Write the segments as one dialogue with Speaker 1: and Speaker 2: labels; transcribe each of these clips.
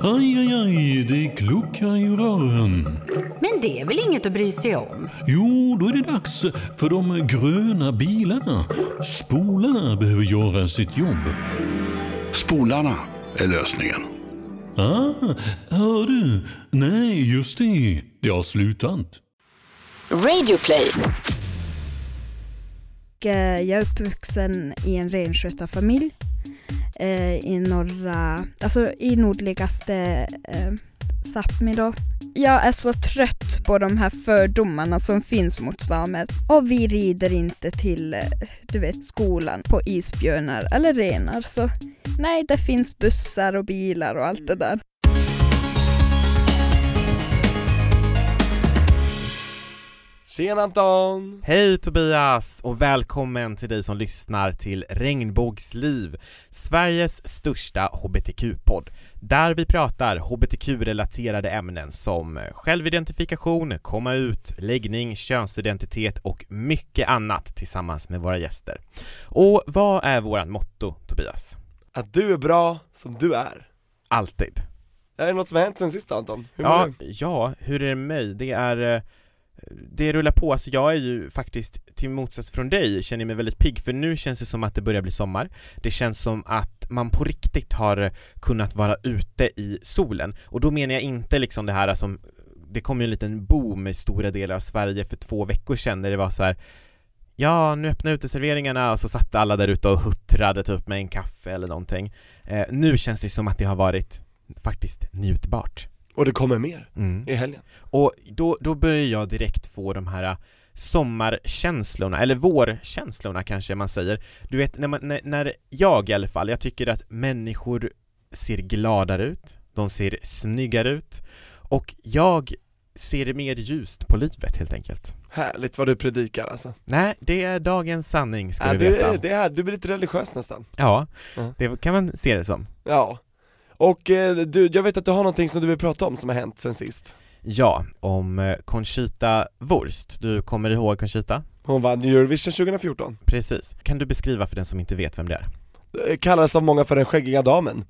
Speaker 1: Aj, aj, aj, det kluckar i rören.
Speaker 2: Men det är väl inget att bry sig om?
Speaker 1: Jo, då är det dags för de gröna bilarna. Spolarna behöver göra sitt jobb.
Speaker 3: Spolarna är lösningen.
Speaker 1: Ah, hör du? Nej, just det. Det har slutat.
Speaker 4: Radioplay.
Speaker 5: Och, eh, Jag är uppvuxen i en renskötarfamilj eh, i norra, alltså i nordligaste eh, Sápmi då. Jag är så trött på de här fördomarna som finns mot samer. Och vi rider inte till, eh, du vet, skolan på isbjörnar eller renar. Så nej, det finns bussar och bilar och allt det där.
Speaker 6: Tjena Anton!
Speaker 7: Hej Tobias och välkommen till dig som lyssnar till Regnbågsliv, Sveriges största hbtq-podd, där vi pratar hbtq-relaterade ämnen som självidentifikation, komma ut, läggning, könsidentitet och mycket annat tillsammans med våra gäster. Och vad är vårt motto, Tobias?
Speaker 6: Att du är bra som du är.
Speaker 7: Alltid.
Speaker 6: Är det något som har hänt sen sist Anton? Hur mår
Speaker 7: Ja,
Speaker 6: du?
Speaker 7: ja, hur är det med mig? Det är, eh, det rullar på, alltså jag är ju faktiskt till motsats från dig, känner jag mig väldigt pigg för nu känns det som att det börjar bli sommar Det känns som att man på riktigt har eh, kunnat vara ute i solen och då menar jag inte liksom det här som det kom ju en liten boom i stora delar av Sverige för två veckor sedan där det var så här Ja, nu öppnar uteserveringarna och så satt alla där ute och huttrade typ med en kaffe eller någonting eh, Nu känns det som att det har varit faktiskt njutbart
Speaker 6: Och det kommer mer
Speaker 7: mm.
Speaker 6: i helgen.
Speaker 7: Och då, då börjar jag direkt få de här äh, sommarkänslorna, eller vårkänslorna kanske man säger. Du vet, när, man, när, när jag i alla fall, jag tycker att människor ser gladare ut, de ser snyggare ut och jag ser mer ljust på livet helt enkelt.
Speaker 6: Härligt vad du predikar alltså.
Speaker 7: Nej, det är dagens sanning ska
Speaker 6: Ja,
Speaker 7: du
Speaker 6: du,
Speaker 7: veta.
Speaker 6: är- det är, du blir lite religiös nästan.
Speaker 7: Ja,
Speaker 6: Ja.
Speaker 7: det kan man se det som.
Speaker 6: Ja. Och eh, du, jag vet att du har någonting som du vill prata om som har hänt sen sist.
Speaker 7: Ja, om eh, Conchita Wurst. Du kommer ihåg Conchita?
Speaker 6: Hon vann Eurovision 2014.
Speaker 7: Precis. Kan du beskriva för den som inte vet vem det är?
Speaker 6: Eh, Kallas av många för den skäggiga damen.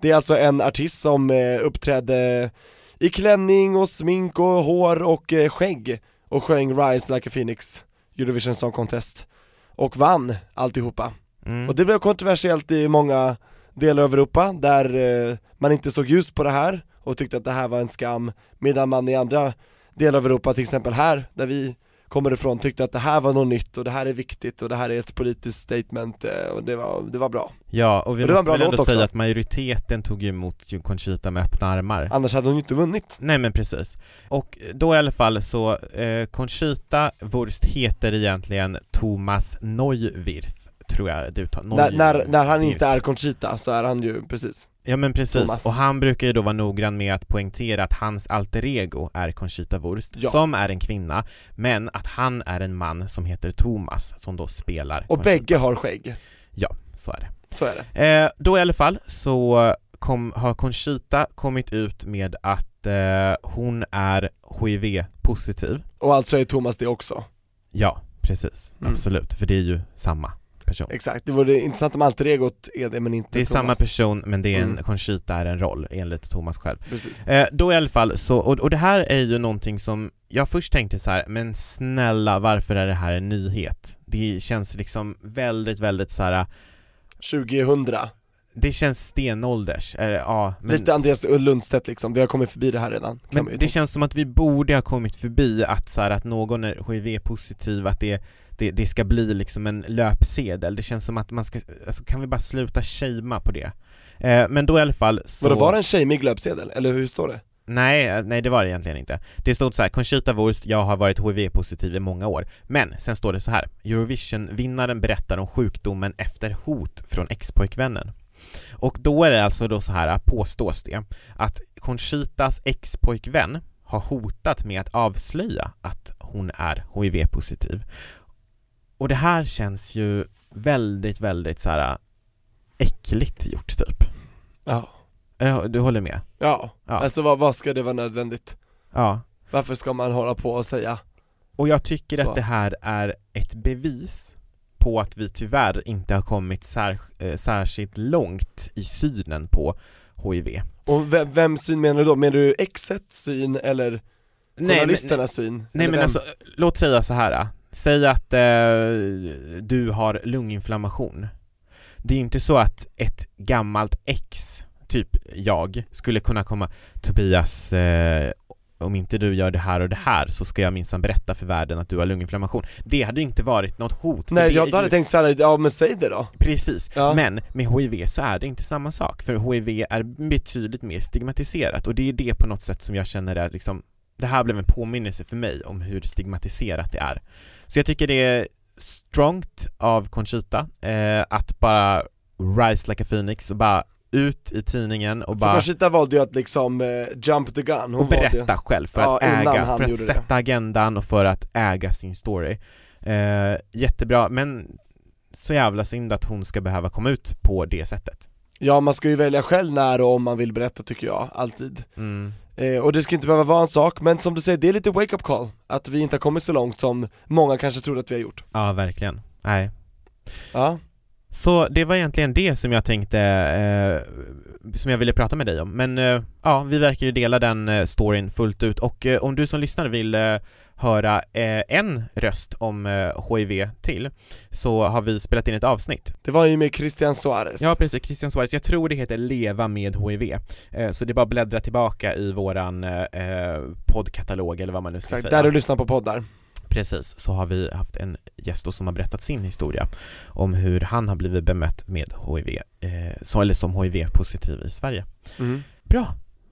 Speaker 6: Det är alltså en artist som eh, uppträdde i klänning och smink och hår och eh, skägg och sjöng Rise Like a Phoenix Eurovision Song Contest och vann alltihopa.
Speaker 7: Mm.
Speaker 6: Och det blev kontroversiellt i många delar av Europa där eh, man inte såg ljust på det här och tyckte att det här var en skam medan man i andra delar av Europa, till exempel här där vi kommer ifrån, tyckte att det här var något nytt och det här är viktigt och det här är ett politiskt statement eh, och det var, det var bra.
Speaker 7: Ja, och vi
Speaker 6: Och det var en
Speaker 7: måste
Speaker 6: bra
Speaker 7: väl ändå
Speaker 6: låt också.
Speaker 7: säga att majoriteten tog ju emot ju Conchita med öppna armar.
Speaker 6: Annars hade hon ju inte vunnit.
Speaker 7: Nej men precis. Och då i alla fall så, eh, Conchita Wurst heter egentligen Thomas Neuwirth, tror jag det uttalas.
Speaker 6: När, när, när han inte är Conchita så är han ju, precis.
Speaker 7: Ja men precis,
Speaker 6: Thomas.
Speaker 7: och han brukar ju då vara noggrann med att poängtera att hans alter ego är Conchita Wurst,
Speaker 6: Ja.
Speaker 7: som är en kvinna, men att han är en man som heter Thomas, som då spelar
Speaker 6: Och
Speaker 7: Conchita.
Speaker 6: bägge har skägg,
Speaker 7: Ja, så är det.
Speaker 6: så är det.
Speaker 7: Eh, då i alla fall så kom, har Conchita kommit ut med att eh, hon är HIV-positiv.
Speaker 6: Och alltså är Thomas det också.
Speaker 7: Ja, precis.
Speaker 6: Mm.
Speaker 7: Absolut, för det är ju samma person.
Speaker 6: Exakt, det vore intressant om alter egot är det men inte
Speaker 7: Det är
Speaker 6: Thomas.
Speaker 7: samma person men det är en,
Speaker 6: Mm.
Speaker 7: Conchita är en roll enligt Thomas själv.
Speaker 6: Precis.
Speaker 7: Eh, då i alla fall så, och, och det här är ju någonting som jag först tänkte så här, men snälla varför är det här en nyhet? Det känns liksom väldigt, väldigt så här.
Speaker 6: 2000.
Speaker 7: det känns stenålders, eh, ja men...
Speaker 6: Lite Andreas Lundstedt liksom, vi har kommit förbi det här redan kan man ju
Speaker 7: Men det
Speaker 6: tänka.
Speaker 7: känns som att vi borde ha kommit förbi att så här, att någon är HIV-positiv, att det, det, det ska bli liksom en löpsedel. Det känns som att man ska, alltså kan vi bara sluta shamea på det? Eh, men då i alla fall så...
Speaker 6: Vadå, var det en tjejmig löpsedel? Eller hur står det?
Speaker 7: Nej, eh, nej det var det egentligen inte. Det stod så här, Conchita Wurst, jag har varit HIV-positiv i många år. Men sen står det så här, Eurovision-vinnaren berättar om sjukdomen efter hot från ex-pojkvännen. Och då är det alltså då så här, påstås det, att Conchitas ex-pojkvän har hotat med att avslöja att hon är HIV-positiv. Och det här känns ju väldigt, väldigt så här eh, äckligt gjort typ.
Speaker 6: Ja
Speaker 7: Eh, Du håller med?
Speaker 6: Ja,
Speaker 7: Ja.
Speaker 6: alltså vad, vad ska det vara nödvändigt?
Speaker 7: Ja.
Speaker 6: Varför ska man hålla på och säga?
Speaker 7: Och jag tycker
Speaker 6: Så.
Speaker 7: att det här är ett bevis på att vi tyvärr inte har kommit sär, eh, särskilt långt i synen på HIV.
Speaker 6: Och vem, vems syn menar du då? Menar du exets syn eller
Speaker 7: Nej, men,
Speaker 6: journalisternas syn?
Speaker 7: nej
Speaker 6: Eller
Speaker 7: men
Speaker 6: vem?
Speaker 7: alltså, låt säga så här. äh. Säg att eh, du har lunginflammation. Det är ju inte så att ett gammalt ex, typ jag, skulle kunna komma Tobias, eh, om inte du gör det här och det här så ska jag minsann berätta för världen att du har lunginflammation. Det hade ju inte varit något hot. för
Speaker 6: Nej
Speaker 7: det
Speaker 6: jag
Speaker 7: är
Speaker 6: då hade
Speaker 7: ju-
Speaker 6: tänkt såhär, ja men säg det då
Speaker 7: Precis,
Speaker 6: Ja.
Speaker 7: men med HIV så är det inte samma sak för HIV är betydligt mer stigmatiserat och det är det på något sätt som jag känner är liksom det här blev en påminnelse för mig om hur stigmatiserat det är. Så jag tycker det är strongt av Conchita eh, att bara rise like a phoenix och bara ut i tidningen och
Speaker 6: För
Speaker 7: bara
Speaker 6: Conchita valde ju att liksom eh, jump the gun, hon
Speaker 7: och
Speaker 6: valde ju
Speaker 7: berätta själv för
Speaker 6: Ja,
Speaker 7: att
Speaker 6: innan
Speaker 7: äga,
Speaker 6: han
Speaker 7: för att
Speaker 6: gjorde det.
Speaker 7: sätta agendan och för att äga sin story. Eh, jättebra, men så jävla synd att hon ska behöva komma ut på det sättet.
Speaker 6: Ja man ska ju välja själv när och om man vill berätta tycker jag, alltid
Speaker 7: Mm.
Speaker 6: eh, Och det ska inte behöva vara en sak, men som du säger det är lite wake up call Att vi inte har kommit så långt som många kanske trodde att vi har gjort
Speaker 7: Ja, verkligen. Nej.
Speaker 6: Ja,
Speaker 7: Så det var egentligen det som jag tänkte, eh, som jag ville prata med dig om. Men eh, ja, vi verkar ju dela den eh, storyn fullt ut och eh, om du som lyssnar vill eh, höra eh, en röst om eh, HIV till så har vi spelat in ett avsnitt
Speaker 6: det var ju med Christian Suarez
Speaker 7: Ja precis, Christian Suarez, jag tror det heter Leva med HIV, eh, så det är bara att bläddra tillbaka i våran eh, eh, poddkatalog eller vad man nu ska
Speaker 6: Exakt,
Speaker 7: säga.
Speaker 6: där du lyssnar på poddar
Speaker 7: Precis, så har vi haft en gäst då som har berättat sin historia om hur han har blivit bemött med HIV, eh, så, eller som HIV-positiv i Sverige.
Speaker 6: mm.
Speaker 7: Bra!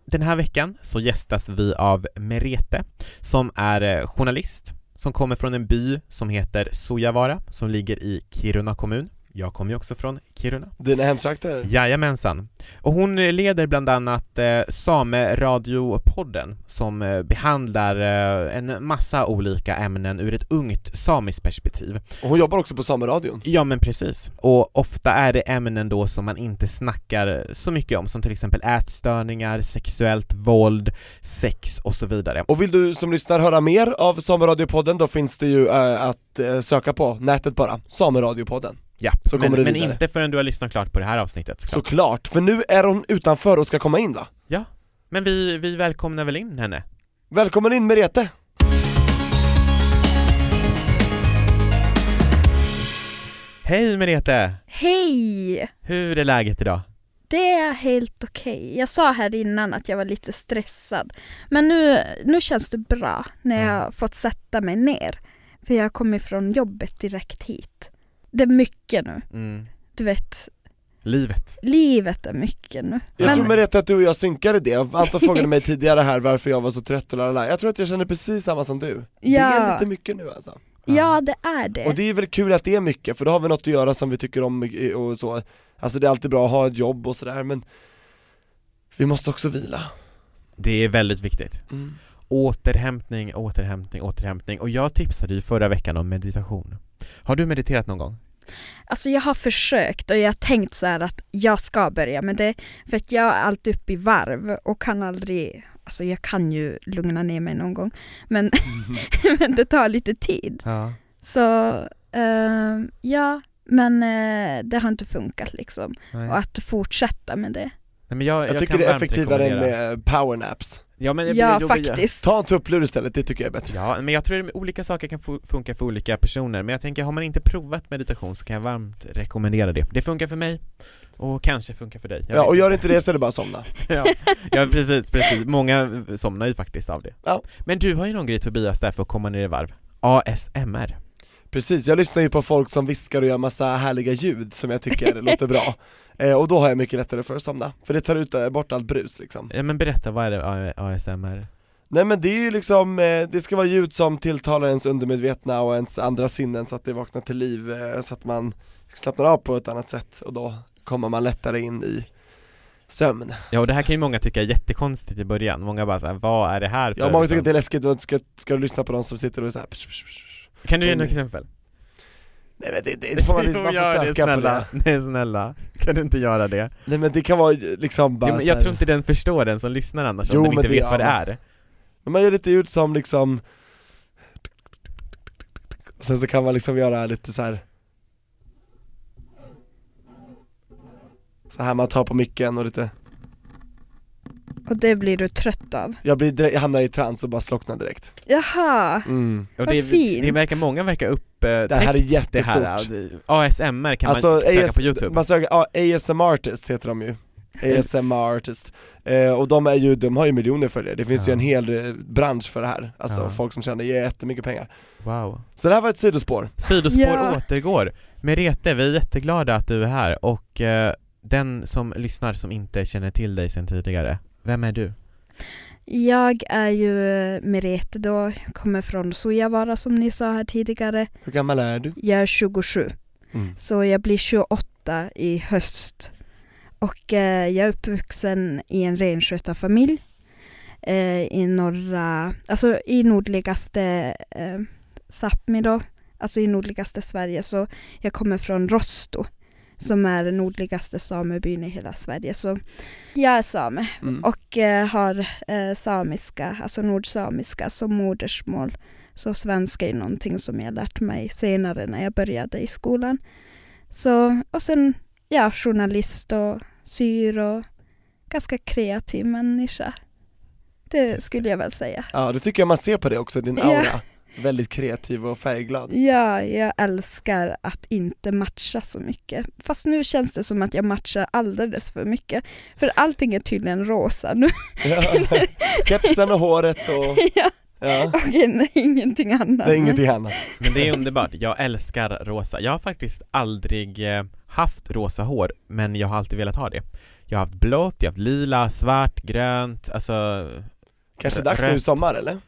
Speaker 7: Den här veckan så gästas vi av Merete som är eh, journalist som kommer från en by som heter Sojavara som ligger i Kiruna kommun. Jag kommer ju också från Kiruna.
Speaker 6: Dina hemtrakter?
Speaker 7: Jajamensan. Och hon eh, leder bland annat eh, Sameradiopodden som eh, behandlar eh, en massa olika ämnen ur ett ungt samiskt perspektiv.
Speaker 6: Och hon jobbar också på Sameradion
Speaker 7: Ja men precis. Och ofta är det ämnen då som man inte snackar så mycket om som till exempel ätstörningar, sexuellt våld, sex och så vidare.
Speaker 6: Och vill du som lyssnar höra mer av Sameradiopodden då finns det ju eh, att eh, söka på nätet bara, Sameradiopodden
Speaker 7: Ja,
Speaker 6: Så kommer
Speaker 7: men,
Speaker 6: du
Speaker 7: men
Speaker 6: vidare.
Speaker 7: inte förrän du har lyssnat klart på det här avsnittet såklart.
Speaker 6: Såklart, för nu är hon utanför och ska komma in va?
Speaker 7: Ja, men vi, vi välkomnar väl in henne.
Speaker 6: Välkommen in Merete!
Speaker 7: Hej Merete!
Speaker 5: Hej!
Speaker 7: Hur är läget idag?
Speaker 5: Det är helt okej. Jag sa här innan att jag var lite stressad. Men nu, nu känns det bra när jag har
Speaker 6: Mm.
Speaker 5: fått sätta mig ner. För jag kom ifrån jobbet direkt hit. Det är mycket nu.
Speaker 7: Mm.
Speaker 5: Du vet,
Speaker 7: Livet.
Speaker 5: livet är mycket nu.
Speaker 6: Jag
Speaker 5: Men-
Speaker 6: tror Merete att du och jag synkade det, Anton frågade mig tidigare här varför jag var så trött och lalala. jag tror att jag känner precis samma som du Det är
Speaker 5: Ja.
Speaker 6: lite mycket nu alltså
Speaker 5: Ja, det är det.
Speaker 6: Och det är väl kul att det är mycket, för då har vi något att göra som vi tycker om eh, och så Alltså det är alltid bra att ha ett jobb och sådär men Vi måste också vila
Speaker 7: Det är väldigt viktigt.
Speaker 6: Mm.
Speaker 7: Återhämtning, återhämtning, återhämtning. Och jag tipsade ju förra veckan om meditation. Har du mediterat någon gång?
Speaker 5: Alltså jag har försökt och jag har tänkt så här att jag ska börja med det för att jag är alltid uppe i varv och kan aldrig, alltså jag kan ju lugna ner mig någon gång men, men det tar lite tid.
Speaker 7: Ja.
Speaker 5: Så eh, ja, men eh, det har inte funkat liksom.
Speaker 7: Nej.
Speaker 5: Och att fortsätta med det.
Speaker 7: Nej, men jag,
Speaker 6: Jag, tycker
Speaker 7: kan
Speaker 6: det är
Speaker 7: varmt
Speaker 6: effektivare än
Speaker 7: rekommendera.
Speaker 6: med eh, powernaps
Speaker 7: Ja, men,
Speaker 5: ja,
Speaker 7: jo, men-
Speaker 5: faktiskt.
Speaker 6: Ta en tupplur istället, det tycker jag är bättre
Speaker 7: Ja, men jag tror att olika saker kan fu- funka för olika personer. Men jag tänker, har man inte provat meditation så kan jag varmt rekommendera det. Det funkar för mig och kanske funkar för dig. Jag
Speaker 6: Ja
Speaker 7: vet
Speaker 6: och
Speaker 7: inte.
Speaker 6: gör inte det så är det bara att somna
Speaker 7: ja. ja, precis, precis. Många eh, somnar ju faktiskt av det.
Speaker 6: Ja.
Speaker 7: Men du har ju någon grej Tobias där för att komma ner i varv. ASMR.
Speaker 6: Precis, jag lyssnar ju på folk som viskar och gör massa härliga ljud som jag tycker låter bra eh, Och då har jag mycket lättare för att somna, för det tar ut eh, bort allt brus liksom
Speaker 7: Ja, men berätta, vad är det A- ASMR?
Speaker 6: Nej men det är ju liksom, eh, det ska vara ljud som tilltalar ens undermedvetna och ens andra sinnen så att det vaknar till liv eh, så att man slappnar av på ett annat sätt och då kommer man lättare in i sömn
Speaker 7: Ja och det här kan ju många tycka är jättekonstigt i början, många bara såhär, vad är det här för? liksom?
Speaker 6: Ja många tycker att det är läskigt, men ska, ska du lyssna på någon som sitter och är såhär psh, psh, psh.
Speaker 7: Kan du ge något exempel?
Speaker 6: Nej men Mm. det, det, det får man, liksom- man får söka på det
Speaker 7: snälla, nej snälla, kan du inte göra det?
Speaker 6: Nej men det kan vara liksom bara
Speaker 7: Jo, men
Speaker 6: så här-
Speaker 7: jag tror inte den förstår den som lyssnar annars,
Speaker 6: Jo,
Speaker 7: om den
Speaker 6: men
Speaker 7: inte
Speaker 6: det-
Speaker 7: vet vad det
Speaker 6: ja,
Speaker 7: är
Speaker 6: Men man gör lite ljud som liksom och Sen så kan man liksom göra lite så här. Så här man tar på micken och lite
Speaker 5: Och det blir du trött av.
Speaker 6: Jag, blir, direkt- jag hamnar i trans och bara slocknar direkt.
Speaker 5: Jaha,
Speaker 6: Mm.
Speaker 7: Och
Speaker 5: Vad
Speaker 7: det,
Speaker 5: fint.
Speaker 7: det verkar, många verkar upptäckt
Speaker 6: Det här är
Speaker 7: det här. ASMR kan man söka på youtube.
Speaker 6: Alltså, Man söker, ja, ASM artist heter de ju. ASM artist. Eh, och de, är ju, de har ju miljoner följare, det finns
Speaker 7: Ja.
Speaker 6: ju en hel eh, bransch för det här. Alltså
Speaker 7: Ja.
Speaker 6: folk som tjänar jättemycket pengar.
Speaker 7: Wow.
Speaker 6: Så det här var ett sidospår.
Speaker 7: Sidospår
Speaker 5: Ja.
Speaker 7: återgår. Merete, vi är jätteglada att du är här och eh, den som lyssnar som inte känner till dig sedan tidigare, vem är du?
Speaker 5: jag är ju eh, Merete då, kommer från Sojavara som ni sa här tidigare.
Speaker 6: Hur gammal är du?
Speaker 5: Jag är 27,
Speaker 6: Mm.
Speaker 5: så jag blir 28 i höst. Och eh, jag är uppvuxen i en renskötarfamilj eh, i norra, alltså i nordligaste eh, Sápmi då, alltså i nordligaste Sverige. Så jag kommer från Rosto som är den nordligaste samebyn i hela Sverige. Så jag är same.
Speaker 6: Mm.
Speaker 5: och eh, har eh, samiska, alltså nordsamiska som modersmål. Så svenska är någonting som jag lärt mig senare när jag började i skolan. Så, och sen, ja, journalist och syr och ganska kreativ människa. Det skulle jag väl säga.
Speaker 6: Ja, det tycker jag man ser på det också, din
Speaker 5: Ja.
Speaker 6: aura. Väldigt kreativ och färgglad.
Speaker 5: Ja, jag älskar att inte matcha så mycket. Fast nu känns det som att jag matchar alldeles för mycket. För allting är tydligen rosa nu.
Speaker 6: Ja. Kepsen och håret och,
Speaker 5: ja,
Speaker 6: ja.
Speaker 5: och in- ingenting annat.
Speaker 6: Det är ingenting annat.
Speaker 7: Men det är underbart, jag älskar rosa. Jag har faktiskt aldrig eh, haft rosa hår, men jag har alltid velat ha det. Jag har haft blått, jag har haft lila, svart, grönt, alltså
Speaker 6: Kanske dags nu i
Speaker 7: Rött.
Speaker 6: sommar eller?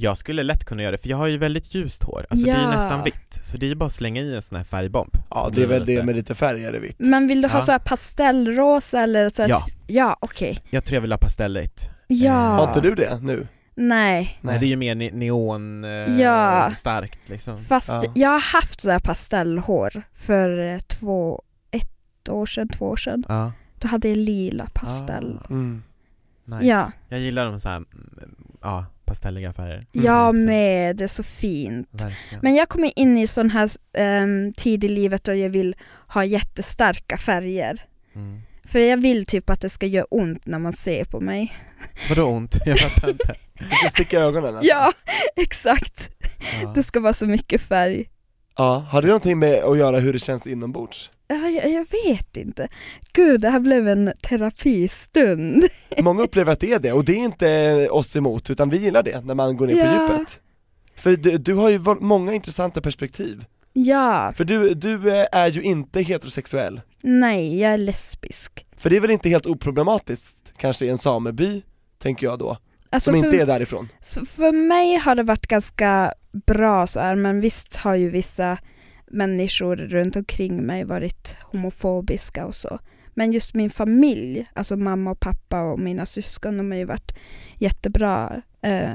Speaker 7: jag skulle lätt kunna göra det, för jag har ju väldigt ljust hår. Alltså det är ju
Speaker 5: Ja.
Speaker 7: nästan vitt, så det är ju bara att slänga i en sån här färgbomb.
Speaker 6: Ja,
Speaker 7: Så
Speaker 6: det är
Speaker 7: blir
Speaker 6: väl det
Speaker 7: lite-
Speaker 6: med lite färg är det vitt.
Speaker 5: Men vill du ha
Speaker 7: Ja.
Speaker 5: så här pastellrosa eller så här,
Speaker 7: Ja.
Speaker 5: ja okej.
Speaker 7: Jag tror jag vill ha pastelligt.
Speaker 5: Ja.
Speaker 6: Eh, Har inte du det nu?
Speaker 5: Nej.
Speaker 7: Nej. Det är ju mer ne- neon, eh,
Speaker 5: Ja.
Speaker 7: starkt liksom.
Speaker 5: Fast
Speaker 6: Ja.
Speaker 5: jag har haft så här pastellhår för eh, två, ett år sedan, två år sedan.
Speaker 7: Ja.
Speaker 5: Då hade jag lila pastell.
Speaker 7: Ah,
Speaker 6: Mm.
Speaker 7: nice.
Speaker 5: Ja.
Speaker 7: Jag gillar de så här, mm, ja, pastelliga färger.
Speaker 5: Jag
Speaker 7: Mm.
Speaker 5: med, det är så fint.
Speaker 7: Verkligen.
Speaker 5: Men jag kommer in i sån här um, tid i livet då jag vill ha jättestarka färger.
Speaker 7: Mm.
Speaker 5: För jag vill typ att det ska göra ont när man ser på mig.
Speaker 7: Vadå ont? Jag fattar inte.
Speaker 6: Du ska sticka ögonen alltså.
Speaker 5: Ja, exakt.
Speaker 7: Ja.
Speaker 5: Det ska vara så mycket färg.
Speaker 6: ja. Har det någonting med att göra hur det känns inombords?
Speaker 5: Ja, jag, jag vet inte. Gud, det här blev en terapistund.
Speaker 6: Många upplever att det är det, och det är inte oss emot, utan vi gillar det när man går ner
Speaker 5: Ja.
Speaker 6: på djupet. För du, du har ju val- många intressanta perspektiv.
Speaker 5: Ja,
Speaker 6: För du, du eh, är ju inte heterosexuell.
Speaker 5: nej, jag är lesbisk.
Speaker 6: För det är väl inte helt oproblematiskt, kanske i en sameby, tänker jag då,
Speaker 5: Alltså
Speaker 6: som
Speaker 5: för,
Speaker 6: inte är därifrån.
Speaker 5: så för mig har det varit ganska bra så här, men visst har ju vissa människor runt omkring mig varit homofobiska och så. Men just min familj, alltså mamma och pappa och mina syskon, de har ju varit jättebra eh,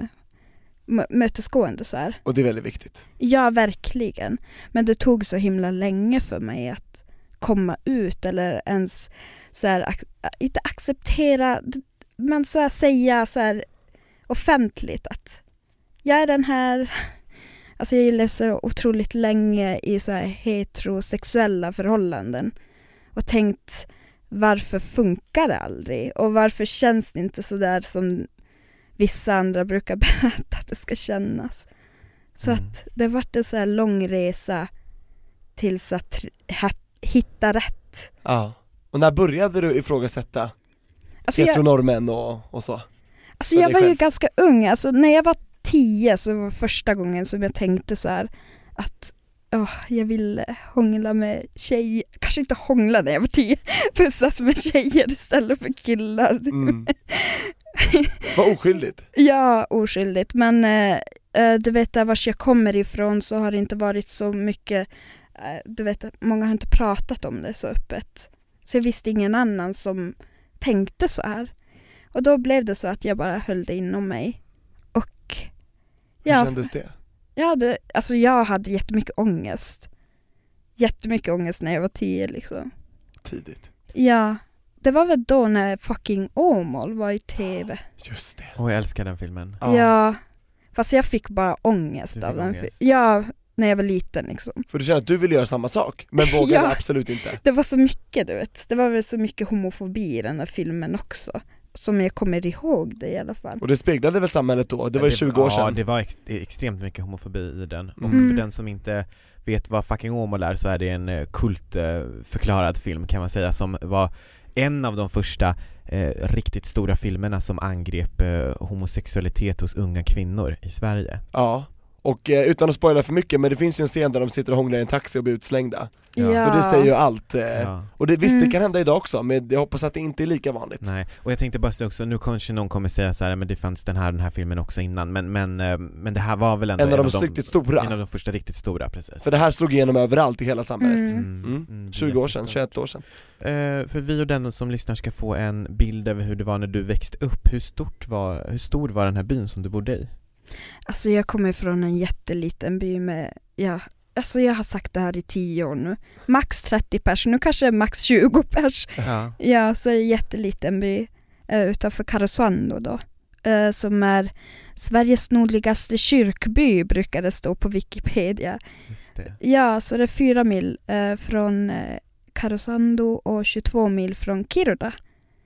Speaker 5: mö- mötesgående så här.
Speaker 6: Och det är väldigt viktigt.
Speaker 5: Ja, verkligen. Men det tog så himla länge för mig att komma ut eller ens så här, ac- inte acceptera, men så här säga så här offentligt att jag är den här. Alltså jag gillar så otroligt länge i så här heterosexuella förhållanden och tänkt varför funkar det aldrig och varför känns det inte så där som vissa andra brukar berätta att det ska kännas. Så
Speaker 7: Mm.
Speaker 5: att det vart en så här lång resa tills att tr- ha- hitta rätt.
Speaker 6: Ja. Och när började du ifrågasätta
Speaker 5: Alltså jag,
Speaker 6: heteronormen och, och så?
Speaker 5: alltså
Speaker 6: för
Speaker 5: jag
Speaker 6: dig
Speaker 5: var ju
Speaker 6: själv?
Speaker 5: ganska ung, alltså när jag var tio så var första gången som jag tänkte så här att åh, jag vill hångla med tjejer, kanske inte hångla när jag var tio, pussas med tjejer istället för killar.
Speaker 6: Mm. Vad oskyldigt.
Speaker 5: Ja, oskyldigt. Men eh, eh, du vet där vars jag kommer ifrån så har det inte varit så mycket, eh, du vet att många har inte pratat om det så öppet. Så jag visste ingen annan som tänkte så här. Och då blev det så att jag bara höll det inom mig. Och
Speaker 6: Hur
Speaker 5: ja,
Speaker 6: kändes det?
Speaker 5: jag, hade, alltså jag hade jättemycket ångest. Jättemycket ångest när jag var tio liksom.
Speaker 6: Tidigt.
Speaker 5: Ja, det var väl då när fucking Åmål var i tv.
Speaker 6: Just det.
Speaker 7: Åh, jag älskar den filmen.
Speaker 5: Ja, fast jag fick bara
Speaker 7: Du
Speaker 5: ångest
Speaker 7: fick
Speaker 5: av den.
Speaker 7: ångest.
Speaker 5: Ja, när jag var liten liksom.
Speaker 6: För du känner att du vill göra samma sak, men vågade
Speaker 5: Ja.
Speaker 6: absolut inte.
Speaker 5: Det var så mycket du vet, det var väl så mycket homofobi i den där filmen också. som jag kommer ihåg det i alla fall.
Speaker 6: Och det speglade väl samhället då? Det var ju 20 år
Speaker 7: Ja,
Speaker 6: sedan.
Speaker 7: det var ex extremt mycket homofobi i den. Och
Speaker 5: Mm.
Speaker 7: för den som inte vet vad fucking Åmål är så är det en eh, kultförklarad film kan man säga som var en av de första eh, riktigt stora filmerna som angrep eh, homosexualitet hos unga kvinnor i Sverige.
Speaker 6: Ja. Och eh, utan att spoila för mycket, men det finns ju en scen där de sitter och hånglar i en taxi och blir utslängda.
Speaker 7: Ja.
Speaker 6: Så det säger ju allt. Eh.
Speaker 7: Ja.
Speaker 6: Och det, visst, det
Speaker 5: Mm.
Speaker 6: kan hända idag också, men jag hoppas att det inte är lika vanligt.
Speaker 7: Nej, och jag tänkte bara säga också, nu kanske någon kommer säga så här, men det fanns den här den här filmen också innan, men, men, eh, men det här var väl ändå
Speaker 6: En av de riktigt stora.
Speaker 7: En av de första riktigt stora, precis.
Speaker 6: För det här slog igenom överallt i hela samhället.
Speaker 5: Mm.
Speaker 6: Mm.
Speaker 7: mm,
Speaker 6: 20 år sedan,
Speaker 7: jättestort.
Speaker 6: 21 år sedan.
Speaker 7: Eh, för vi och den som lyssnar ska få en bild över hur det var när du växte upp. Hur, stort var, hur stor var den här byn som du bodde i?
Speaker 5: Alltså jag kommer från en jätteliten by med, ja, alltså jag har sagt det här i tio år nu. Max 30 pers, nu kanske det är max 20 pers.
Speaker 7: Ja.
Speaker 5: Ja, så är det en jätteliten by eh, utanför Karesuando då. Eh, som är Sveriges nordligaste kyrkby brukar det stå på Wikipedia.
Speaker 7: Just det.
Speaker 5: Ja, så det är fyra mil eh, från eh, Karesuando och 22 mil från Kiruna.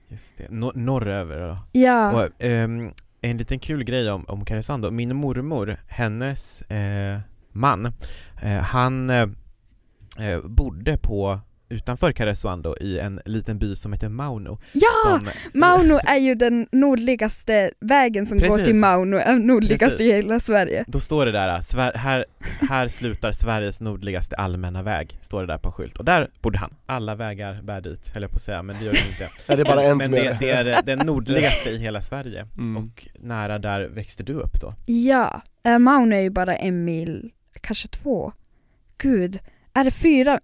Speaker 7: Just det. Nor- norröver då.
Speaker 5: Ja,
Speaker 7: Och, ehm, en liten kul grej om, om Karesuando. Min mormor, hennes eh, man, eh, han eh, eh, bodde på utanför Karesuando i en liten by som heter Mauno.
Speaker 5: ja!
Speaker 7: som,
Speaker 5: Mauno är ju den nordligaste vägen som går
Speaker 7: Precis.
Speaker 5: till Mauno, är nordligast
Speaker 7: Precis.
Speaker 5: i hela Sverige.
Speaker 7: Då står det där, äh, Sver- här, här slutar Sveriges nordligaste allmänna väg, står det där på en skylt. Och där bodde han. Alla vägar bär dit, höll jag på att säga, men det gör de inte.
Speaker 6: Nej, det är bara en
Speaker 7: men
Speaker 6: som
Speaker 7: det,
Speaker 6: är
Speaker 7: det är äh, den nordligaste i hela Sverige.
Speaker 6: mm.
Speaker 7: Och nära där växte du upp då?
Speaker 5: Ja, eh, Mauno är ju bara en mil, kanske två. Gud, är det fyra?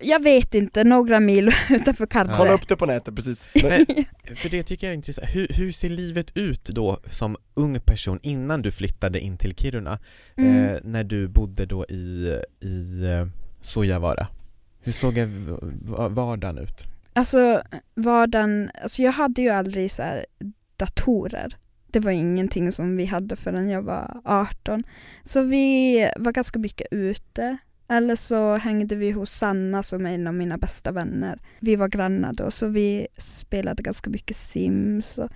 Speaker 5: Jag vet inte, några mil utanför Karpare.
Speaker 6: Kolla upp det på nätet precis. Men,
Speaker 7: För det tycker jag är intressant. Hur, hur ser livet ut då som ung person innan du flyttade in till Kiruna?
Speaker 5: Mm.
Speaker 7: Eh, när du bodde då i, i eh, Sojavara? Hur såg jag v- va- vardagen ut?
Speaker 5: Alltså var den, alltså jag hade ju aldrig så här datorer. Det var ingenting som vi hade förrän jag var 18. Så vi var ganska mycket ute. Eller så hängde vi hos Sanna som är en av mina bästa vänner. Vi var grannar då så vi spelade ganska mycket Sims och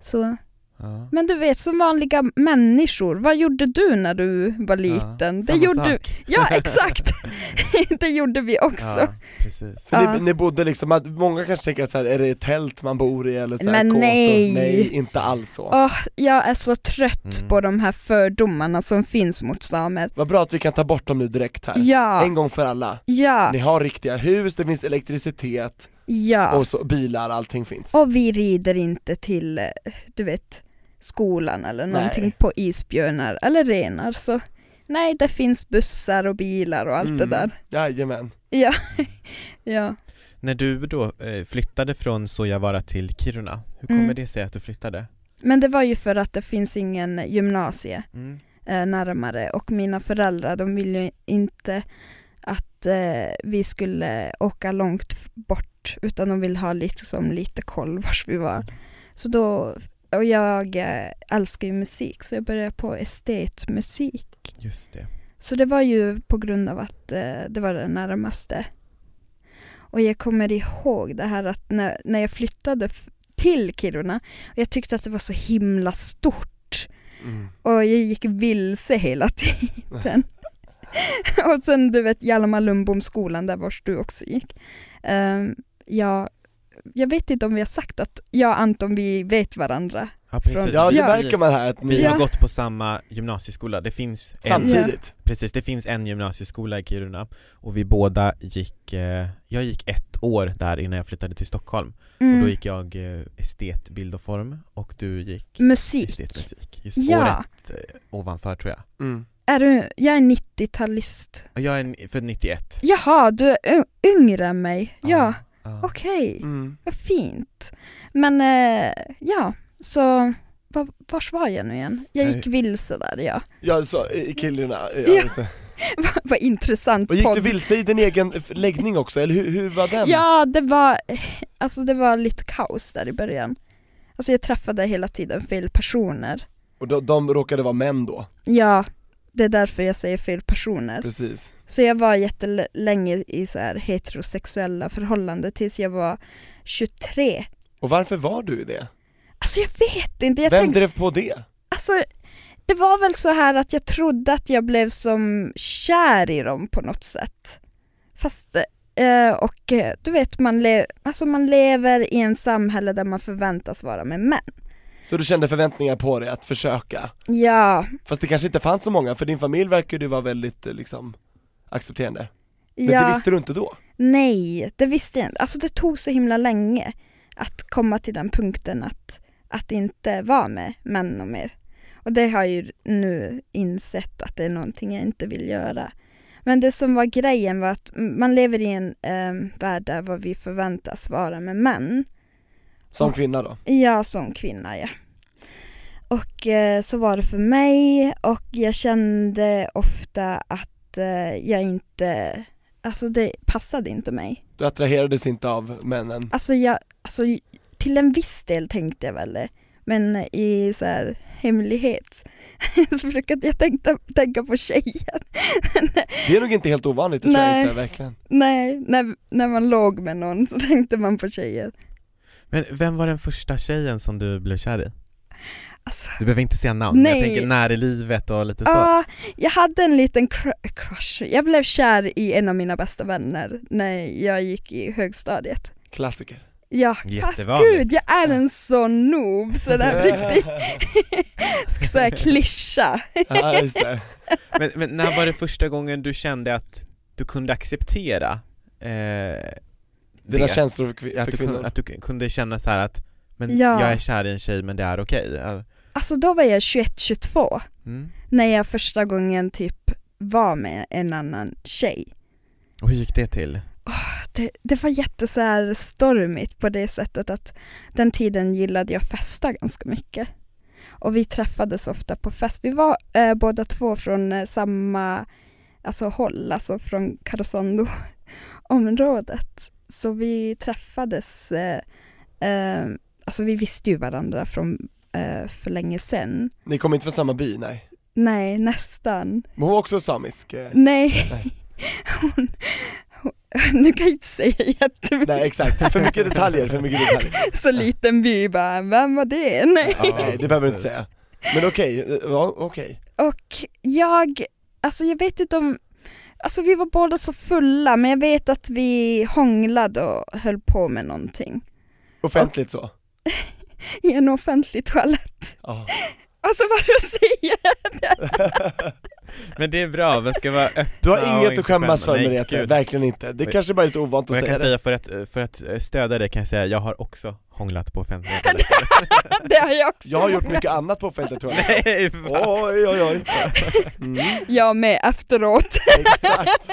Speaker 5: så.
Speaker 7: Ja.
Speaker 5: Men du vet som vanliga människor, vad gjorde du när du var liten?
Speaker 7: samma
Speaker 5: gjorde
Speaker 7: sak.
Speaker 5: Ja exakt! det gjorde vi också.
Speaker 7: Ja, precis.
Speaker 6: så
Speaker 5: Ja.
Speaker 6: ni, ni bodde liksom, att många kanske tänker så här, är det ett tält man bor i eller så här,
Speaker 5: Men
Speaker 6: kåtor?
Speaker 5: nej.
Speaker 6: nej! inte alls så.
Speaker 5: Åh, jag är så trött
Speaker 7: Mm.
Speaker 5: på de här fördomarna som finns mot samer.
Speaker 6: Vad bra att vi kan ta bort dem nu direkt här.
Speaker 5: Ja,
Speaker 6: En gång för alla.
Speaker 5: ja,
Speaker 6: Ni har riktiga hus, det finns elektricitet
Speaker 5: ja.
Speaker 6: och så, bilar, allting finns.
Speaker 5: Och vi rider inte till, eh, du vet, skolan eller
Speaker 6: Nej.
Speaker 5: någonting på isbjörnar eller renar så nej, det finns bussar och bilar och allt det
Speaker 6: Mm.
Speaker 5: där.
Speaker 6: Jajamän.
Speaker 5: Ja.
Speaker 7: När du då eh, flyttade från Sojavara till Kiruna, hur kommer
Speaker 5: Mm.
Speaker 7: det sig att du flyttade?
Speaker 5: Men det var ju för att det finns ingen gymnasie
Speaker 7: Mm.
Speaker 5: eh, närmare och mina föräldrar de ville ju inte att eh, vi skulle åka långt f- bort utan de ville ha liksom lite koll vars vi var. Så då, och jag eh, älskar ju musik så jag började på estetmusik.
Speaker 7: Just det.
Speaker 5: Så det var ju på grund av att eh, det var det närmaste. Och jag kommer ihåg det här att när, när jag flyttade f- till Kiruna och jag tyckte att det var så himla stort
Speaker 6: Mm.
Speaker 5: och jag gick vilse hela tiden. och sen du vet Hjalmar Lundbom-skolan där vars du också gick. Ehm, jag, jag vet inte om vi har sagt att jag och Anton vi vet varandra.
Speaker 7: Ja, precis.
Speaker 6: Ja, det
Speaker 5: Ja.
Speaker 6: märker man här att
Speaker 7: Vi
Speaker 6: ni
Speaker 5: Ja.
Speaker 7: har gått på samma gymnasieskola, det finns en,
Speaker 5: Samtidigt.
Speaker 7: precis, det finns en gymnasieskola i Kiruna och vi båda gick, eh, jag gick ett år där innan jag flyttade till Stockholm och
Speaker 5: Mm.
Speaker 7: då gick jag eh, estet, bild och form och du gick
Speaker 5: Musik.
Speaker 7: estetmusik, just
Speaker 5: Ja,
Speaker 7: året eh, ovanför tror jag.
Speaker 6: Mm.
Speaker 5: är du, jag är 90-talist.
Speaker 7: Och Jag är en- född 91.
Speaker 5: Jaha, du är y- yngre än mig. Ja,
Speaker 7: ja.
Speaker 5: okej.
Speaker 6: Mm.
Speaker 5: Vad fint. Men eh, ja, så var, vars var jag nu igen? Jag
Speaker 7: Nej.
Speaker 5: gick vilse där ja.
Speaker 6: Ja, så, i Kiruna. Ja,
Speaker 5: Ja.
Speaker 6: just det.
Speaker 5: Vad intressant
Speaker 6: Och gick du
Speaker 5: podd.
Speaker 6: vilse i din egen f- läggning också, eller hur, hur var den?
Speaker 5: Ja, det var, alltså det var lite kaos där i början. Alltså jag träffade hela tiden fel personer.
Speaker 6: Och de, de råkade vara män då,
Speaker 5: Ja, det är därför jag säger fel personer.
Speaker 6: precis.
Speaker 5: Så jag var jättelänge i så här heterosexuella förhållanden tills jag var 23.
Speaker 6: Och varför var du i det?
Speaker 5: Alltså jag vet inte, jag
Speaker 6: Vem
Speaker 5: tänkte,
Speaker 6: drev på det?
Speaker 5: alltså det var väl så här att jag trodde att jag blev som kär i dem på något sätt. Fast, eh, och eh, du vet man, le- alltså, man lever i en samhälle där man förväntas vara med män.
Speaker 6: Så du kände förväntningar på dig att försöka?
Speaker 5: Ja,
Speaker 6: Fast det kanske inte fanns så många, för din familj verkade ju vara väldigt eh, liksom accepterande. Men
Speaker 5: ja.
Speaker 6: det visste du inte då?
Speaker 5: Nej, det visste jag inte. Alltså det tog så himla länge att komma till den punkten att, att inte vara med män och mer. Och det har jag ju nu insett att det är någonting jag inte vill göra. Men det som var grejen var att man lever i en eh, värld där vad vi förväntas vara med män.
Speaker 6: Som
Speaker 5: Ja.
Speaker 6: kvinna då?
Speaker 5: Ja, som kvinna ja. Och eh, så var det för mig och jag kände ofta att eh, jag inte, alltså det passade inte mig.
Speaker 6: Du attraherades inte av männen?
Speaker 5: Alltså, jag, alltså till en viss del tänkte jag väl det. Men i så här hemlighet så brukade jag tänka, tänka på tjejer.
Speaker 6: Det är nog inte helt ovanligt, det tror jag
Speaker 5: Nej.
Speaker 6: inte verkligen.
Speaker 5: Nej, när, när man låg med någon så tänkte man på tjejer.
Speaker 7: Men vem var den första tjejen som du blev kär i?
Speaker 5: Alltså,
Speaker 7: Du behöver inte säga namn, men jag
Speaker 5: Nej. Ah.
Speaker 7: tänker när i livet och lite så.
Speaker 5: ja, jag hade en liten cr- crush. Jag blev kär i en av mina bästa vänner när jag gick i högstadiet.
Speaker 6: Klassiker.
Speaker 5: Ja, fast
Speaker 7: Jättevanligt.
Speaker 5: gud, jag är en sån noob så det här är riktigt så här klyscha.
Speaker 6: ja, just det.
Speaker 7: Men, men när var det första gången du kände att du kunde acceptera eh,
Speaker 6: Dina
Speaker 7: det?
Speaker 6: känslor för, kvi-
Speaker 7: att
Speaker 6: för
Speaker 7: du, kunde,
Speaker 6: kvinnor.
Speaker 7: att du kunde känna så här att men
Speaker 5: Ja.
Speaker 7: jag är kär i en tjej men det är okej. Ja.
Speaker 5: Alltså då var jag 21-22.
Speaker 7: Mm.
Speaker 5: när jag första gången typ var med en annan tjej.
Speaker 7: Och hur gick det till?
Speaker 5: Det, det var jätte så här stormigt på det sättet att den tiden gillade jag att festa ganska mycket. Och vi träffades ofta på fest. Vi var eh, båda två från eh, samma alltså, håll, alltså från Karesuando-området. Så vi träffades, eh, eh, alltså vi visste ju varandra från eh, för länge sedan.
Speaker 6: Ni kom inte från samma by, nej.
Speaker 5: Nej, nästan.
Speaker 6: Men hon var också samisk? eh,
Speaker 5: Nej.
Speaker 6: Nej.
Speaker 5: Hon, hon, nu kan jag inte säga jättemycket,
Speaker 6: Nej exakt, för mycket detaljer, för mycket detaljer.
Speaker 5: så liten by bara, vem var det? Nej.
Speaker 6: Nej det behöver du inte säga. Men okej, eh, ja, okej.
Speaker 5: Och jag, alltså jag vet inte om, alltså vi var båda så fulla men jag vet att vi hånglade och höll på med någonting
Speaker 6: Offentligt så?
Speaker 5: i en offentlig toalett. Alltså,
Speaker 6: Ja.
Speaker 5: Och så var det att säga,
Speaker 7: Men det är bra, man ska vara öppna
Speaker 6: Du har
Speaker 7: och
Speaker 6: inget
Speaker 7: inte
Speaker 6: att skämmas för
Speaker 7: skämma. Nej,
Speaker 6: Merete,
Speaker 7: gud.
Speaker 6: verkligen inte. Det
Speaker 7: Oj.
Speaker 6: kanske bara är lite ovant
Speaker 7: Och
Speaker 6: att
Speaker 7: jag
Speaker 6: säga
Speaker 7: kan
Speaker 6: det.
Speaker 7: säga för att, för att eh, stödja dig kan jag säga, jag har också hånglat på offentligheten.
Speaker 5: det har jag också
Speaker 6: Jag har gjort mycket annat på offentliga toaletter.
Speaker 7: Nej, fan.
Speaker 6: Oj oj oj. Mm,
Speaker 5: Jag med efteråt.
Speaker 6: exakt.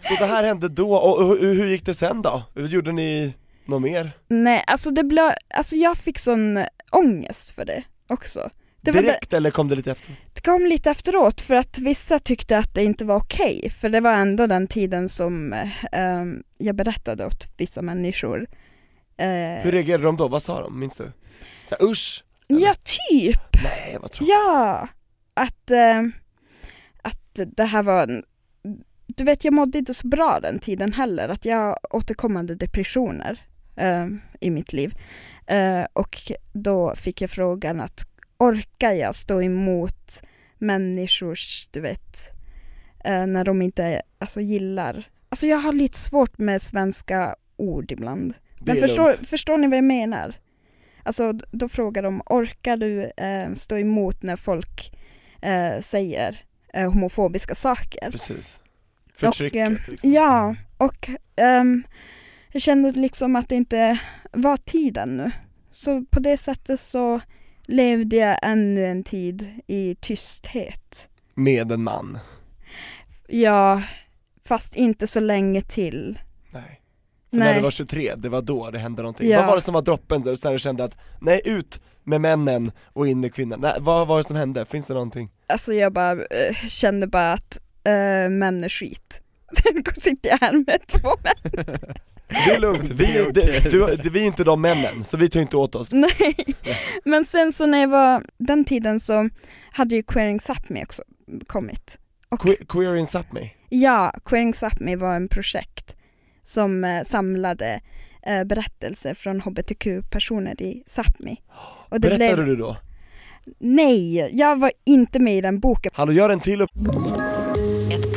Speaker 6: Så det här hände då, och hur, hur gick det sen då? Hur Gjorde ni något mer?
Speaker 5: Nej, alltså det blev, alltså jag fick sån ångest för det också. Det var det- Eh.
Speaker 6: Direkt eller kom det lite efter?
Speaker 5: Det kom lite efteråt för att vissa tyckte att det inte var okej för det var ändå den tiden som eh, ehm, jag berättade åt vissa människor. Eh,
Speaker 6: Hur reagerade de då? Vad sa de? Minns du? Så här, usch!
Speaker 5: ja, typ.
Speaker 6: Nej vad tråkigt.
Speaker 5: Ja. Att, eh, att det här var... En, du vet, jag mådde inte så bra den tiden heller. Att jag har återkommande depressioner eh, i mitt liv. Eh, och då fick jag frågan att orkar jag stå emot människors, du vet, eh, när de inte alltså, gillar... Alltså jag har lite svårt med svenska ord ibland.
Speaker 6: Det
Speaker 5: Men
Speaker 6: är
Speaker 5: förstår,
Speaker 6: lugnt.
Speaker 5: förstår ni vad jag menar? Alltså d- då frågar de, orkar du eh, stå emot när folk eh, säger eh, homofobiska saker?
Speaker 6: Precis.
Speaker 5: eh,
Speaker 6: Förtrycket liksom.
Speaker 5: Ja, och ehm, jag kände liksom att det inte var tiden nu. Så på det sättet så levde jag ännu en tid i tysthet.
Speaker 6: Med en man.
Speaker 5: Ja, fast inte så länge till.
Speaker 6: Nej. För när
Speaker 5: Nej.
Speaker 6: du var 23, det var då det hände någonting.
Speaker 5: Ja.
Speaker 6: Vad var det som var droppen där där du kände att, nej ut med männen och in med kvinnan? Nej, vad var det som hände? Finns det någonting?
Speaker 5: Alltså jag bara eh, kände bara att eh, män är skit. Sen sitter jag här med två män.
Speaker 6: Det är lugnt, vi, det, du, det, vi är inte de männen, så vi tar inte åt oss.
Speaker 5: Nej, men sen så när jag var den tiden så hade ju Queering Sápmi också kommit. Och
Speaker 6: Que- Queering Sápmi,
Speaker 5: ja, Queering Sápmi var en projekt som eh, samlade eh, berättelser från hbtq-personer i Sápmi. Och det
Speaker 6: Berättade
Speaker 5: blev,
Speaker 6: du då?
Speaker 5: Nej, jag var inte med i den boken.
Speaker 6: Hallå gör en till upp...
Speaker 4: Ett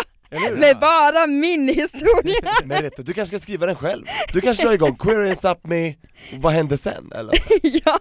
Speaker 5: Med bara min historia!
Speaker 6: Merete, du kanske ska skriva den själv? Du kanske drar igång Query up me, vad hände sen? Eller så.
Speaker 5: ja.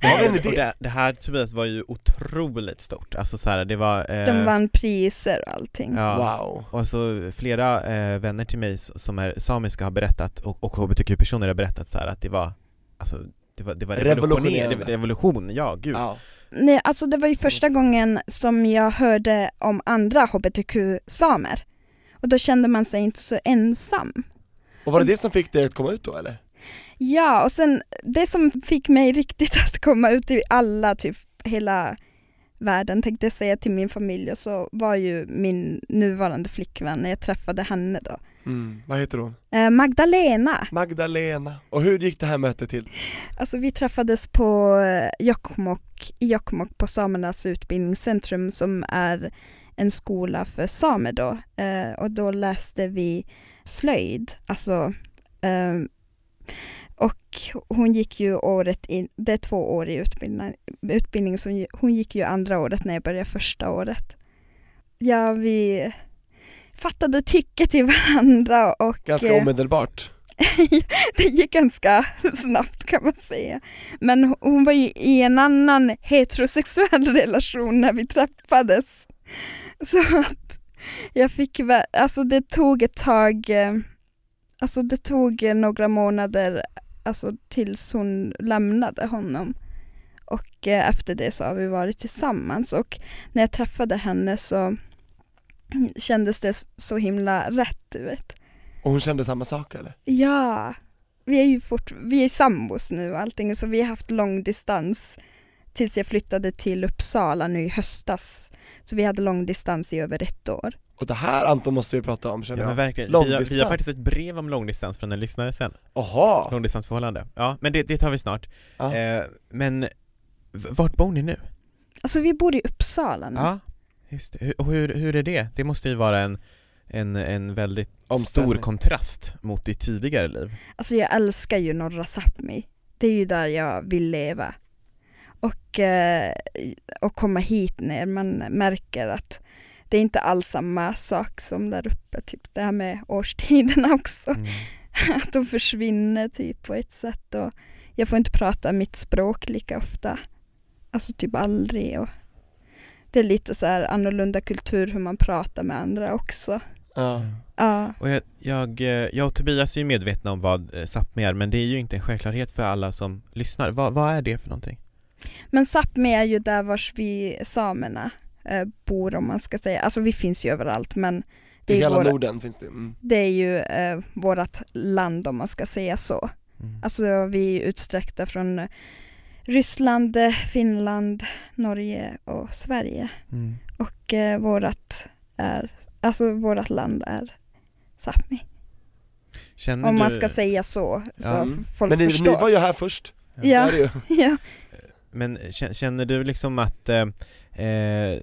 Speaker 6: Har vi en
Speaker 7: Och
Speaker 6: idé?
Speaker 7: det, det här Tobias var ju otroligt stort, alltså så här, det var... eh,
Speaker 5: De vann priser och allting.
Speaker 7: ja.
Speaker 6: Wow.
Speaker 7: Och så flera eh, vänner till mig s- som är samiska har berättat, och, och hbtq-personer har berättat så här att det var, alltså, det var, det var
Speaker 6: Revolutionerande.
Speaker 7: det var revolution, ja gud.
Speaker 6: Ja.
Speaker 5: Nej, alltså det var ju första gången som jag hörde om andra hbtq-samer. Och då kände man sig inte så ensam.
Speaker 6: Och var det det som fick dig att komma ut då eller?
Speaker 5: Ja, och sen det som fick mig riktigt att komma ut i alla, typ hela världen tänkte jag säga till min familj och så var ju min nuvarande flickvän när jag träffade henne då.
Speaker 6: Mm. Vad heter hon?
Speaker 5: Eh, Magdalena,
Speaker 6: Magdalena. Och hur gick det här mötet till?
Speaker 5: alltså vi träffades på eh, Jokkmokk, i Jokkmokk på Samernas utbildningscentrum som är en skola för samer då eh, och då läste vi slöjd, alltså eh, och hon gick ju året in, det är två år i utbildning, utbildning så hon- hon gick ju andra året när jag började första året. Ja, vi fattade tycke till varandra och
Speaker 6: Ganska
Speaker 5: eh,
Speaker 6: omedelbart.
Speaker 5: det gick ganska snabbt kan man säga. Men ho- hon var ju i en annan heterosexuell relation när vi träffades. Så att jag fick, vä- alltså det tog ett tag, eh, alltså det tog eh, några månader alltså tills hon lämnade honom. Och eh, efter det så har vi varit tillsammans och när jag träffade henne så kändes det s- så himla rätt, du vet.
Speaker 6: Och hon kände samma sak eller?
Speaker 5: Ja, vi är ju fort, vi är sambos nu och allting så vi har haft lång distans tills jag flyttade till Uppsala nu i höstas. Så vi hade lång distans i över ett år.
Speaker 6: Och det här Anton måste vi prata om känner
Speaker 7: Ja men
Speaker 6: jag.
Speaker 7: verkligen, vi har,
Speaker 6: Långdistans.
Speaker 7: vi har faktiskt ett brev om långdistans från en lyssnare sen,
Speaker 6: Jaha!
Speaker 7: långdistansförhållande. Ja, men det, det tar vi snart.
Speaker 6: Ja. Mm.
Speaker 7: Eh, men v- vart bor ni nu?
Speaker 5: Alltså vi bor i Uppsala nu.
Speaker 7: Ja, just det. Hur- Och hur, hur är det? Det måste ju vara en, en, en väldigt
Speaker 6: Omställning.
Speaker 7: stor kontrast mot ditt tidigare liv.
Speaker 5: Alltså jag älskar ju norra Sápmi. Det är ju där jag vill leva. Och, eh, och komma hit när man märker att det är inte alls samma sak som där uppe. Typ det här med årstiderna också.
Speaker 7: Mm.
Speaker 5: att de försvinner typ på ett sätt och jag får inte prata mitt språk lika ofta. Alltså typ aldrig och det är lite så här annorlunda kultur hur man pratar med andra också.
Speaker 6: Ja.
Speaker 5: Mm. Ja,
Speaker 7: Och jag, jag, eh, jag och Tobias är ju medvetna om vad eh, Sápmi är, men det är ju inte en självklarhet för alla som lyssnar. Vad, vad är det för någonting?
Speaker 5: men Sápmi är ju där vars vi samerna eh, bor om man ska säga. Alltså vi finns ju överallt men det
Speaker 6: I
Speaker 5: är,
Speaker 6: hela
Speaker 5: våra,
Speaker 6: Norden finns det. Mm.
Speaker 5: det är ju eh, vårat land om man ska säga så.
Speaker 7: Mm.
Speaker 5: Alltså vi är utsträckta från eh, Ryssland, eh, Finland, Norge och Sverige.
Speaker 7: Mm.
Speaker 5: Och eh, vårat, är, alltså vårat land är Sápmi.
Speaker 7: Känner
Speaker 5: Om man
Speaker 7: du-
Speaker 5: ska säga så, så
Speaker 7: Ja.
Speaker 5: f- folk
Speaker 6: Men ni,
Speaker 5: förstår.
Speaker 6: ni var ju här först. Det
Speaker 5: ja,
Speaker 6: är det ju.
Speaker 5: ja.
Speaker 7: Men kä- känner du liksom att, eh, eh,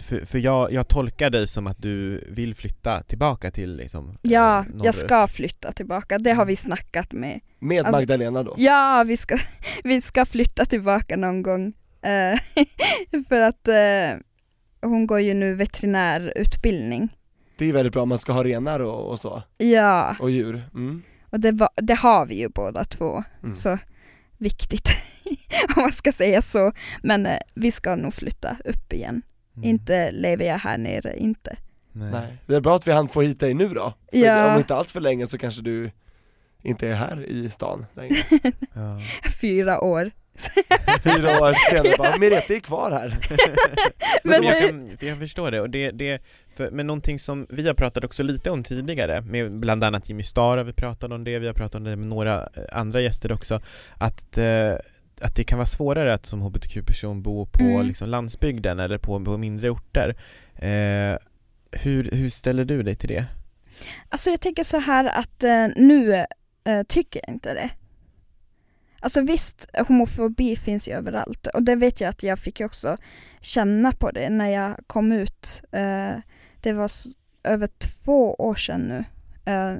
Speaker 7: för, för jag, jag tolkar dig som att du vill flytta tillbaka till liksom eh,
Speaker 5: ja, jag
Speaker 7: norrut.
Speaker 5: ska flytta tillbaka. Det
Speaker 6: Mm.
Speaker 5: har vi snackat med.
Speaker 6: Med
Speaker 5: Alltså-
Speaker 6: Magdalena då.
Speaker 5: Ja, vi ska, vi ska flytta tillbaka någon gång. Eh, för att eh, hon går ju nu veterinärutbildning.
Speaker 6: Det är ju väldigt bra om man ska ha renar och, och så,
Speaker 5: Ja,
Speaker 6: och djur. Mm.
Speaker 5: och det, va, det har vi ju båda två.
Speaker 6: Mm.
Speaker 5: Så viktigt, om man ska säga så. Men eh, vi ska nog flytta upp igen.
Speaker 7: Mm.
Speaker 5: Inte lever jag här nere, inte.
Speaker 7: Nej.
Speaker 6: Nej. Det är bra att vi hann få hit dig nu då. För
Speaker 5: Ja.
Speaker 6: Om inte allt för länge så kanske du inte är här i stan längre.
Speaker 7: Ja.
Speaker 5: Fyra år.
Speaker 6: Fyra år senare bara, Merete är kvar här.
Speaker 7: Men
Speaker 5: Men
Speaker 7: jag, kan, jag förstår det, och det, det för, men någonting som vi har pratat också lite om tidigare, med bland annat Jimmy Starr har vi pratat om det, vi har pratat om det med några eh, andra gäster också, att, eh, att det kan vara svårare att som hbtq-person bo på
Speaker 5: Mm.
Speaker 7: liksom landsbygden eller på, på mindre orter. Eh, hur, hur ställer du dig till det?
Speaker 5: Alltså jag tänker så här att eh, nu eh, tycker jag inte det. Alltså visst, homofobi finns ju överallt och det vet jag att jag fick ju också känna på det när jag kom ut. Eh, det var s- över två år sedan nu. Eh,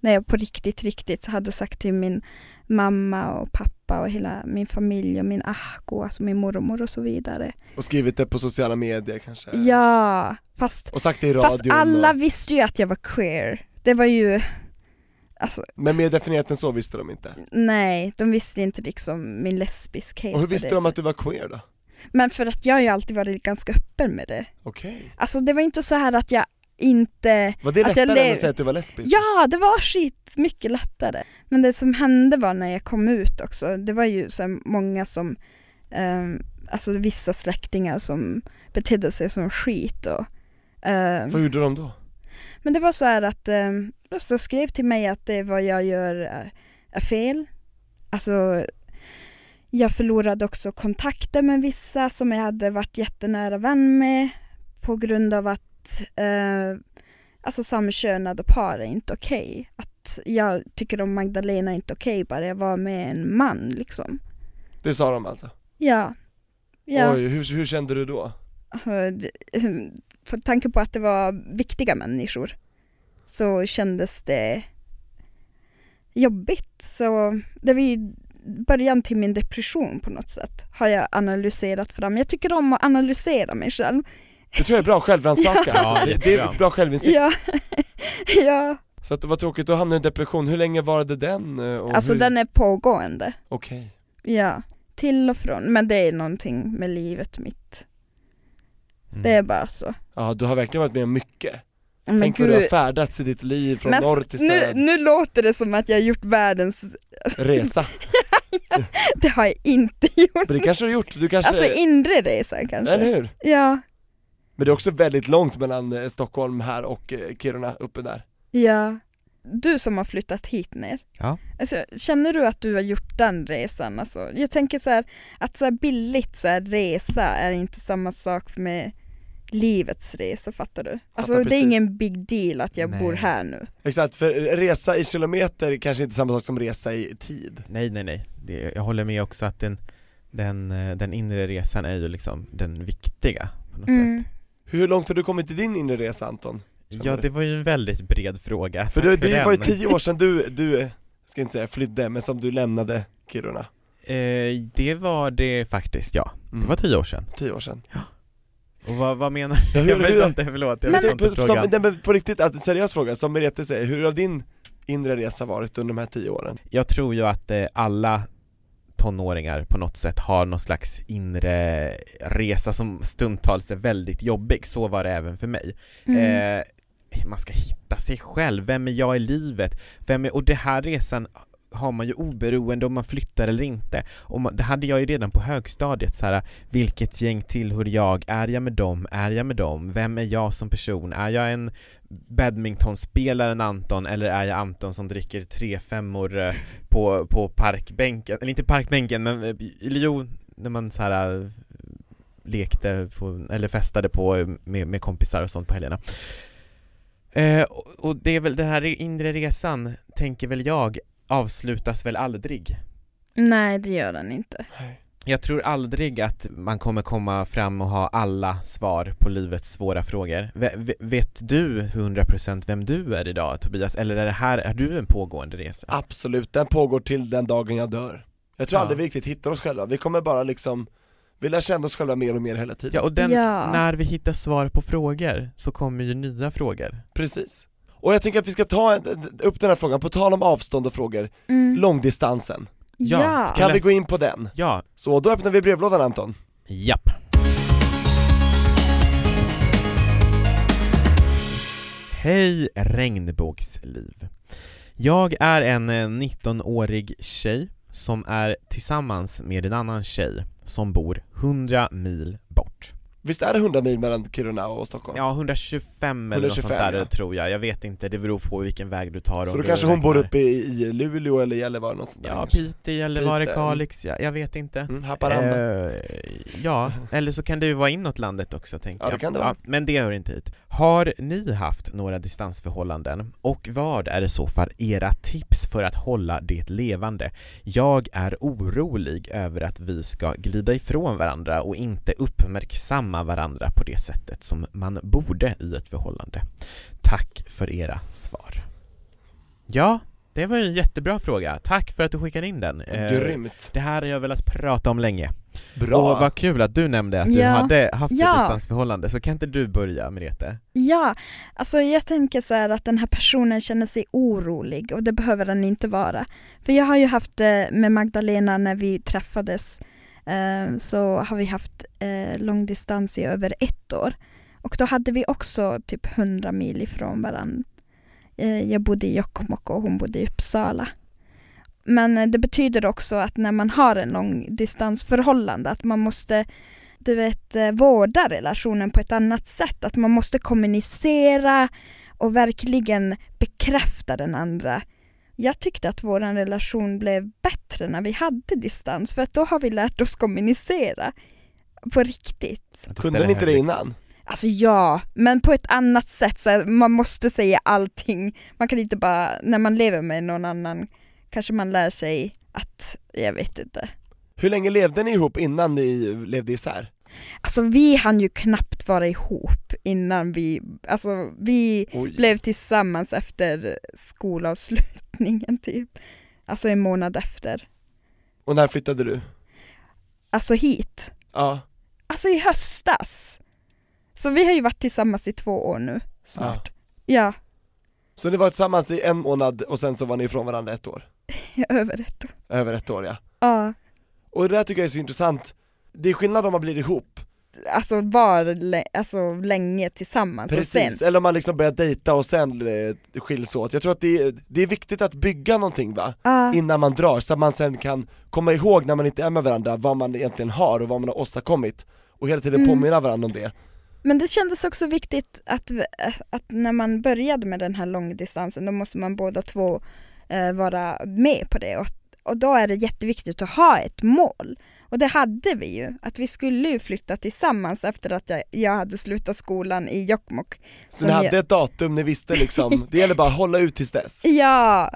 Speaker 5: när jag på riktigt, riktigt hade sagt till min mamma och pappa och hela min familj och min ahko, alltså min mormor och så vidare.
Speaker 6: Och skrivit det på sociala medier kanske.
Speaker 5: Ja, fast
Speaker 6: Och sagt det i
Speaker 5: Fast
Speaker 6: radion.
Speaker 5: alla
Speaker 6: och,
Speaker 5: visste ju att jag var queer. Det var ju, alltså
Speaker 6: men mer definierat än så visste de inte.
Speaker 5: nej, de visste inte liksom min lesbiskhet.
Speaker 6: Och hur
Speaker 5: på
Speaker 6: visste
Speaker 5: det
Speaker 6: de att
Speaker 5: sättet.
Speaker 6: du var queer då?
Speaker 5: Men för att jag har ju alltid varit ganska öppen med det.
Speaker 6: Okej.
Speaker 5: Alltså det var inte så här att jag inte,
Speaker 6: Var det
Speaker 5: Att jag
Speaker 6: lättare än
Speaker 5: lev-
Speaker 6: att säga att du var lesbisk?
Speaker 5: ja det var skit mycket lättare. Men det som hände var när jag kom ut också, det var ju så här många som, ehm, alltså vissa släktingar som betedde sig som skit och ehm,
Speaker 6: Vad gjorde de då?
Speaker 5: Men det var så här att eh, så skrev till mig att det vad jag gör är, är fel. Alltså jag förlorade också kontakter med vissa som jag hade varit jättenära vän med på grund av att eh, alltså samkönade par är inte okej. Att jag tycker om Magdalena är inte okej bara jag var med en man liksom.
Speaker 6: Det sa de alltså?
Speaker 5: Ja. ja.
Speaker 6: Oj, hur, hur kände du då?
Speaker 5: Eh, d- för tanke på att det var viktiga människor så kändes det jobbigt. Så det var ju början till min depression på något sätt har jag analyserat fram. Jag tycker om att analysera mig själv.
Speaker 6: Det tror jag är bra självrannsakan,
Speaker 7: Ja. Ja,
Speaker 6: det, det
Speaker 7: jättebra.
Speaker 6: är bra självinsikt.
Speaker 5: Ja, ja.
Speaker 6: Så att det var tråkigt, då hamnade du i depression, hur länge varade den? eh, Och
Speaker 5: alltså
Speaker 6: hur...
Speaker 5: den är pågående.
Speaker 6: Okej,
Speaker 5: Ja, till och från. Men det är någonting med livet mitt.
Speaker 7: Mm.
Speaker 5: Det är bara så.
Speaker 6: ja du har verkligen varit med om mycket.
Speaker 5: Men
Speaker 6: Tänk vad du har färdats i ditt liv från
Speaker 5: Men
Speaker 6: norr till
Speaker 5: nu,
Speaker 6: söder,
Speaker 5: nu låter det som att jag har gjort världens
Speaker 6: resa.
Speaker 5: Det har jag inte gjort.
Speaker 6: Men det kanske du har gjort, du kanske,
Speaker 5: Alltså inre resa kanske.
Speaker 6: eller hur?
Speaker 5: Ja,
Speaker 6: Men det är också väldigt långt mellan eh, Stockholm här och eh, Kiruna, uppe där.
Speaker 5: ja. Du som har flyttat hit ner.
Speaker 7: Ja.
Speaker 5: Alltså, känner du att du har gjort den resan? Alltså, jag tänker så här, att så här billigt så här resa är inte samma sak med livets resa, fattar du? Alltså det är
Speaker 6: precis.
Speaker 5: ingen big deal att jag
Speaker 7: Nej.
Speaker 5: bor här nu.
Speaker 6: Exakt, för eh, resa i kilometer är kanske inte samma sak som resa i tid.
Speaker 7: Nej, nej, nej. Det, jag håller med också att den, den, eh, den inre resan är ju liksom den viktiga på något
Speaker 5: Mm.
Speaker 7: sätt.
Speaker 6: Hur långt har du kommit i din inre resa Anton?
Speaker 7: Ja, det var ju en väldigt bred fråga.
Speaker 6: För det, det
Speaker 7: den-
Speaker 6: var ju tio år sedan du, du, eh, ska inte säga flydde, men som du lämnade Kiruna.
Speaker 7: Eh, det var det faktiskt, ja.
Speaker 6: Mm.
Speaker 7: Det var tio år sedan.
Speaker 6: tio år sedan.
Speaker 7: Och vad, vad menar
Speaker 6: Ja,
Speaker 7: du?
Speaker 6: hur-
Speaker 7: Jag vet
Speaker 6: hur-
Speaker 7: inte, förlåt. Jag
Speaker 6: Men,
Speaker 7: vet
Speaker 6: typ,
Speaker 7: inte
Speaker 6: som,
Speaker 7: frågan.
Speaker 6: nej, men på riktigt, att en seriös fråga, som Merete säger, hur har din inre resa varit under de här tio åren?
Speaker 7: Jag tror ju att eh, alla tonåringar på något sätt har någon slags inre resa som stundtals är väldigt jobbig. Så var det även för mig. Eh, man ska hitta sig själv, vem är jag i livet? Vem är, och det här resan har man ju oberoende om man flyttar eller inte. Och man, det hade jag ju redan på högstadiet så här, vilket gäng tillhör jag? Är jag med dem? Är jag med dem? Vem är jag som person? Är jag en badmintonspelaren Anton eller är jag Anton som dricker tre femmor eh, på, på parkbänken? Eller inte parkbänken men, eh, eller jo, när man så här eh, lekte på, eller festade på eh, med, med kompisar och sånt på helgerna. Eh, och- och det är väl den här inre resan, tänker väl jag, avslutas väl aldrig.
Speaker 5: Nej, det gör den inte.
Speaker 7: Jag tror aldrig att man kommer komma fram och ha alla svar på livets svåra frågor. V- v- vet du 100% vem du är idag Tobias? Eller är det här, är du en pågående resa?
Speaker 6: Absolut, den pågår till den dagen jag dör. Jag tror
Speaker 7: Ja.
Speaker 6: aldrig vi riktigt hittar oss själva, vi kommer bara liksom, vi lär känna oss själva mer och mer hela tiden.
Speaker 7: Ja, och den,
Speaker 5: Ja.
Speaker 7: när vi hittar svar på frågor så kommer ju nya frågor.
Speaker 6: Precis. Och jag tänker att vi ska ta en- upp den här frågan, på tal om avstånd och frågor,
Speaker 5: Mm.
Speaker 6: långdistansen.
Speaker 7: Ja.
Speaker 5: ja.
Speaker 7: Ska-
Speaker 6: Kan vi gå in på den?
Speaker 7: Ja,
Speaker 6: Så då öppnar vi brevlådan Anton.
Speaker 7: japp. Hej regnbågsliv. Jag är en eh, 19-årig tjej som är tillsammans med en annan tjej som bor 100 mil bort.
Speaker 6: Visst är det 100 mil mellan Kiruna och Stockholm?
Speaker 7: Ja, 125 eller
Speaker 6: 125,
Speaker 7: något sånt där
Speaker 6: ja.
Speaker 7: tror jag. Jag vet inte, det beror på vilken väg du tar.
Speaker 6: Så
Speaker 7: om
Speaker 6: då
Speaker 7: du
Speaker 6: kanske hon bor
Speaker 7: räknar-
Speaker 6: uppe i, i Luleå eller Gällivare någonstans där
Speaker 7: Ja,
Speaker 6: kanske.
Speaker 7: Piteå, Gällivare,
Speaker 6: Piteå.
Speaker 7: Kalix, ja, jag vet inte.
Speaker 6: mm, Haparanda
Speaker 7: Eh, ja, eller så kan det ju vara inåt landet också tänker
Speaker 6: Ja,
Speaker 7: jag.
Speaker 6: det kan det vara.
Speaker 7: men det hör inte hit. Har ni haft några distansförhållanden? Och vad är i så fall era tips för att hålla det levande? Jag är orolig över att vi ska glida ifrån varandra och inte uppmärksamma varandra på det sättet som man borde i ett förhållande. Tack för era svar. Ja, det var ju en jättebra fråga. Tack för att du skickade in den. Eh,
Speaker 6: Grymt,
Speaker 7: Det här har jag velat prata om länge.
Speaker 6: bra!
Speaker 7: Och vad kul att du nämnde att du
Speaker 5: Ja.
Speaker 7: hade haft
Speaker 5: Ja.
Speaker 7: ett distansförhållande, så kan inte du börja Merete?
Speaker 5: Ja, alltså jag tänker så här att den här personen känner sig orolig och det behöver den inte vara. För jag har ju haft det med Magdalena när vi träffades eh, så har vi haft eh, långdistans i över ett år. Och då hade vi också typ 100 mil ifrån varandra. Eh, jag bodde i Jokkmokk och hon bodde i Uppsala. Men eh, det betyder också att när man har en långdistansförhållande att man måste du vet, eh, vårda relationen på ett annat sätt. Att man måste kommunicera och verkligen bekräfta den andra. Jag tyckte att vår relation blev bättre när vi hade distans för att då har vi lärt oss kommunicera på riktigt.
Speaker 6: Kunde ni inte det innan?
Speaker 5: Alltså ja, men på ett annat sätt. Så här, man måste säga allting. Man kan inte bara, när man lever med någon annan kanske man lär sig att, jag vet inte.
Speaker 6: Hur länge levde ni ihop innan ni levde isär?
Speaker 5: Alltså vi hann ju knappt vara ihop innan vi, alltså vi
Speaker 6: Oj.
Speaker 5: blev tillsammans efter skolavslutningen typ. Alltså en månad efter.
Speaker 6: Och när flyttade du?
Speaker 5: Alltså hit.
Speaker 6: Ja,
Speaker 5: Alltså i höstas. Så vi har ju varit tillsammans i två år nu snart. Ja,
Speaker 6: så ni var tillsammans i en månad och sen så var ni ifrån varandra ett år?
Speaker 5: över ett år.
Speaker 6: Över ett år ja.
Speaker 5: Ja,
Speaker 6: Och det där tycker jag är så intressant, det är skillnad om man blir ihop,
Speaker 5: alltså var lä- alltså, länge tillsammans
Speaker 7: Alltså
Speaker 5: och
Speaker 6: precis,
Speaker 5: sen.
Speaker 6: eller om man liksom börjar dejta och sen eh, skiljs åt. Jag tror att det är, det är viktigt att bygga någonting va?
Speaker 5: Ja,
Speaker 6: innan man drar, så att man sen kan komma ihåg när man inte är med varandra vad man egentligen har och vad man har åstadkommit och hela tiden
Speaker 5: Mm.
Speaker 6: påminna varandra om det.
Speaker 5: men det kändes också viktigt att, att när man började med den här långdistansen då måste man båda två eh, vara med på det och, och då är det jätteviktigt att ha ett mål. Och det hade vi ju, att vi skulle ju flytta tillsammans efter att jag, jag hade slutat skolan i Jokkmokk.
Speaker 6: Så
Speaker 5: Som
Speaker 6: ni
Speaker 5: jag-
Speaker 6: hade ett datum, ni visste liksom, det gäller bara att hålla ut tills dess.
Speaker 5: Ja,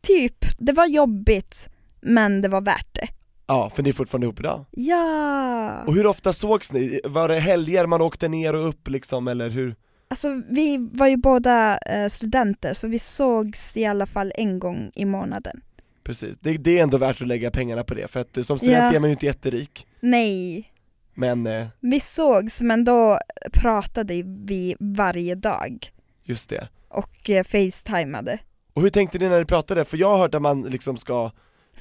Speaker 5: typ. Det var jobbigt men det var värt det.
Speaker 6: Ja, för ni är fortfarande ihop idag.
Speaker 5: Ja!
Speaker 6: Och hur ofta sågs ni? Var det helger man åkte ner och upp liksom eller hur?
Speaker 5: Alltså vi var ju båda eh, studenter så vi sågs i alla fall en gång i månaden.
Speaker 6: Precis, det, det är ändå värt att lägga pengarna på det för att eh, som student
Speaker 5: Ja.
Speaker 6: är man ju inte jätterik,
Speaker 5: Nej,
Speaker 6: men eh,
Speaker 5: vi sågs men då pratade vi varje dag
Speaker 6: just det.
Speaker 5: och eh, facetimade.
Speaker 6: Och hur tänkte ni när ni pratade? För jag har hört att man liksom ska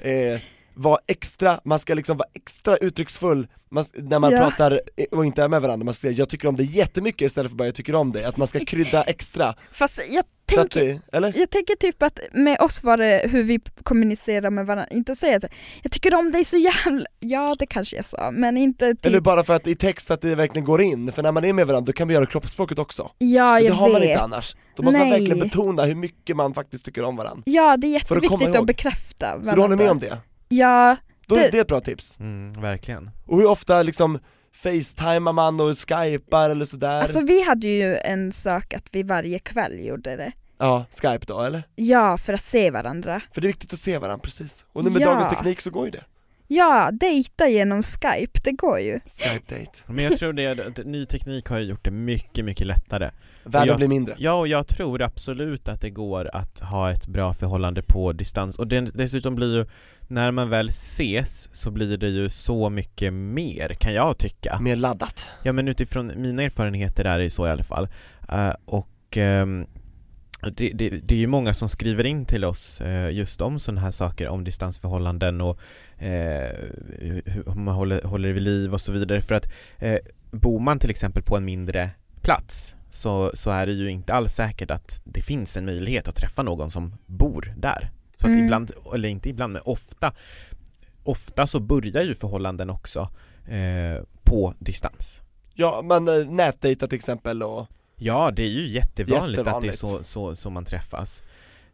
Speaker 6: eh, vara extra, man ska liksom vara extra uttrycksfull man, när man
Speaker 5: Ja.
Speaker 6: pratar eh, och inte är med varandra, man ska säga jag tycker om dig jättemycket istället för bara jag tycker om dig, att man ska krydda extra.
Speaker 5: Fast jag
Speaker 6: Så att,
Speaker 5: tänker,
Speaker 6: det- eller?
Speaker 5: jag tänker typ att med oss var det hur vi kommunicerar med varandra, inte säga så, här, jag tycker om dig så jävla, ja det kanske jag sa men inte typ,
Speaker 6: Eller bara för att i text att det verkligen går in, för när man är med varandra då kan vi göra kroppsspråket också.
Speaker 5: ja
Speaker 6: Och
Speaker 5: jag
Speaker 6: det har
Speaker 5: vet.
Speaker 6: man inte annars. Då måste man
Speaker 5: Nej.
Speaker 6: verkligen betona hur mycket man faktiskt tycker om varandra.
Speaker 5: Ja det är
Speaker 6: komma
Speaker 5: jätteviktigt att,
Speaker 6: ihåg.
Speaker 5: bekräfta varandra.
Speaker 6: Så du håller med om det?
Speaker 5: Ja,
Speaker 6: Då är
Speaker 5: Det-
Speaker 6: det ett bra tips.
Speaker 7: Mm, verkligen.
Speaker 6: Och hur ofta liksom facetimar man och skypar eller sådär?
Speaker 5: alltså vi hade ju en sak att vi varje kväll gjorde det.
Speaker 6: ja, skype då eller?
Speaker 5: Ja, för att se varandra.
Speaker 6: För det är viktigt att se varandra, precis. Och nu med
Speaker 5: Ja.
Speaker 6: dagens teknik så går ju det.
Speaker 5: Ja, dejta genom Skype, det går ju.
Speaker 6: Skype date.
Speaker 7: Men jag tror det, att ny teknik har ju gjort det mycket, mycket lättare.
Speaker 6: Världen
Speaker 7: Ja.
Speaker 6: blir mindre.
Speaker 7: Ja, och jag tror absolut att det går att ha ett bra förhållande på distans och den, dessutom blir ju, när man väl ses så blir det ju så mycket mer kan jag tycka.
Speaker 6: Mer laddat.
Speaker 7: Ja men utifrån mina erfarenheter är det så i alla fall. Eh, och ehm, det, det, det är ju många som skriver in till oss eh, just om sådana här saker, om distansförhållanden och eh, hur hur man håller, håller det vid liv och så vidare. För att eh, bor man till exempel på en mindre plats så, så är det ju inte alls säkert att det finns en möjlighet att träffa någon som bor där. Så att
Speaker 5: Mm.
Speaker 7: ibland, eller inte ibland, men ofta ofta så börjar ju förhållanden också eh, på distans.
Speaker 6: Ja men eh, nätdejta till exempel och
Speaker 7: Ja, det är ju jättevanligt, att det är
Speaker 6: Jättevanligt.
Speaker 7: så, så, så man träffas.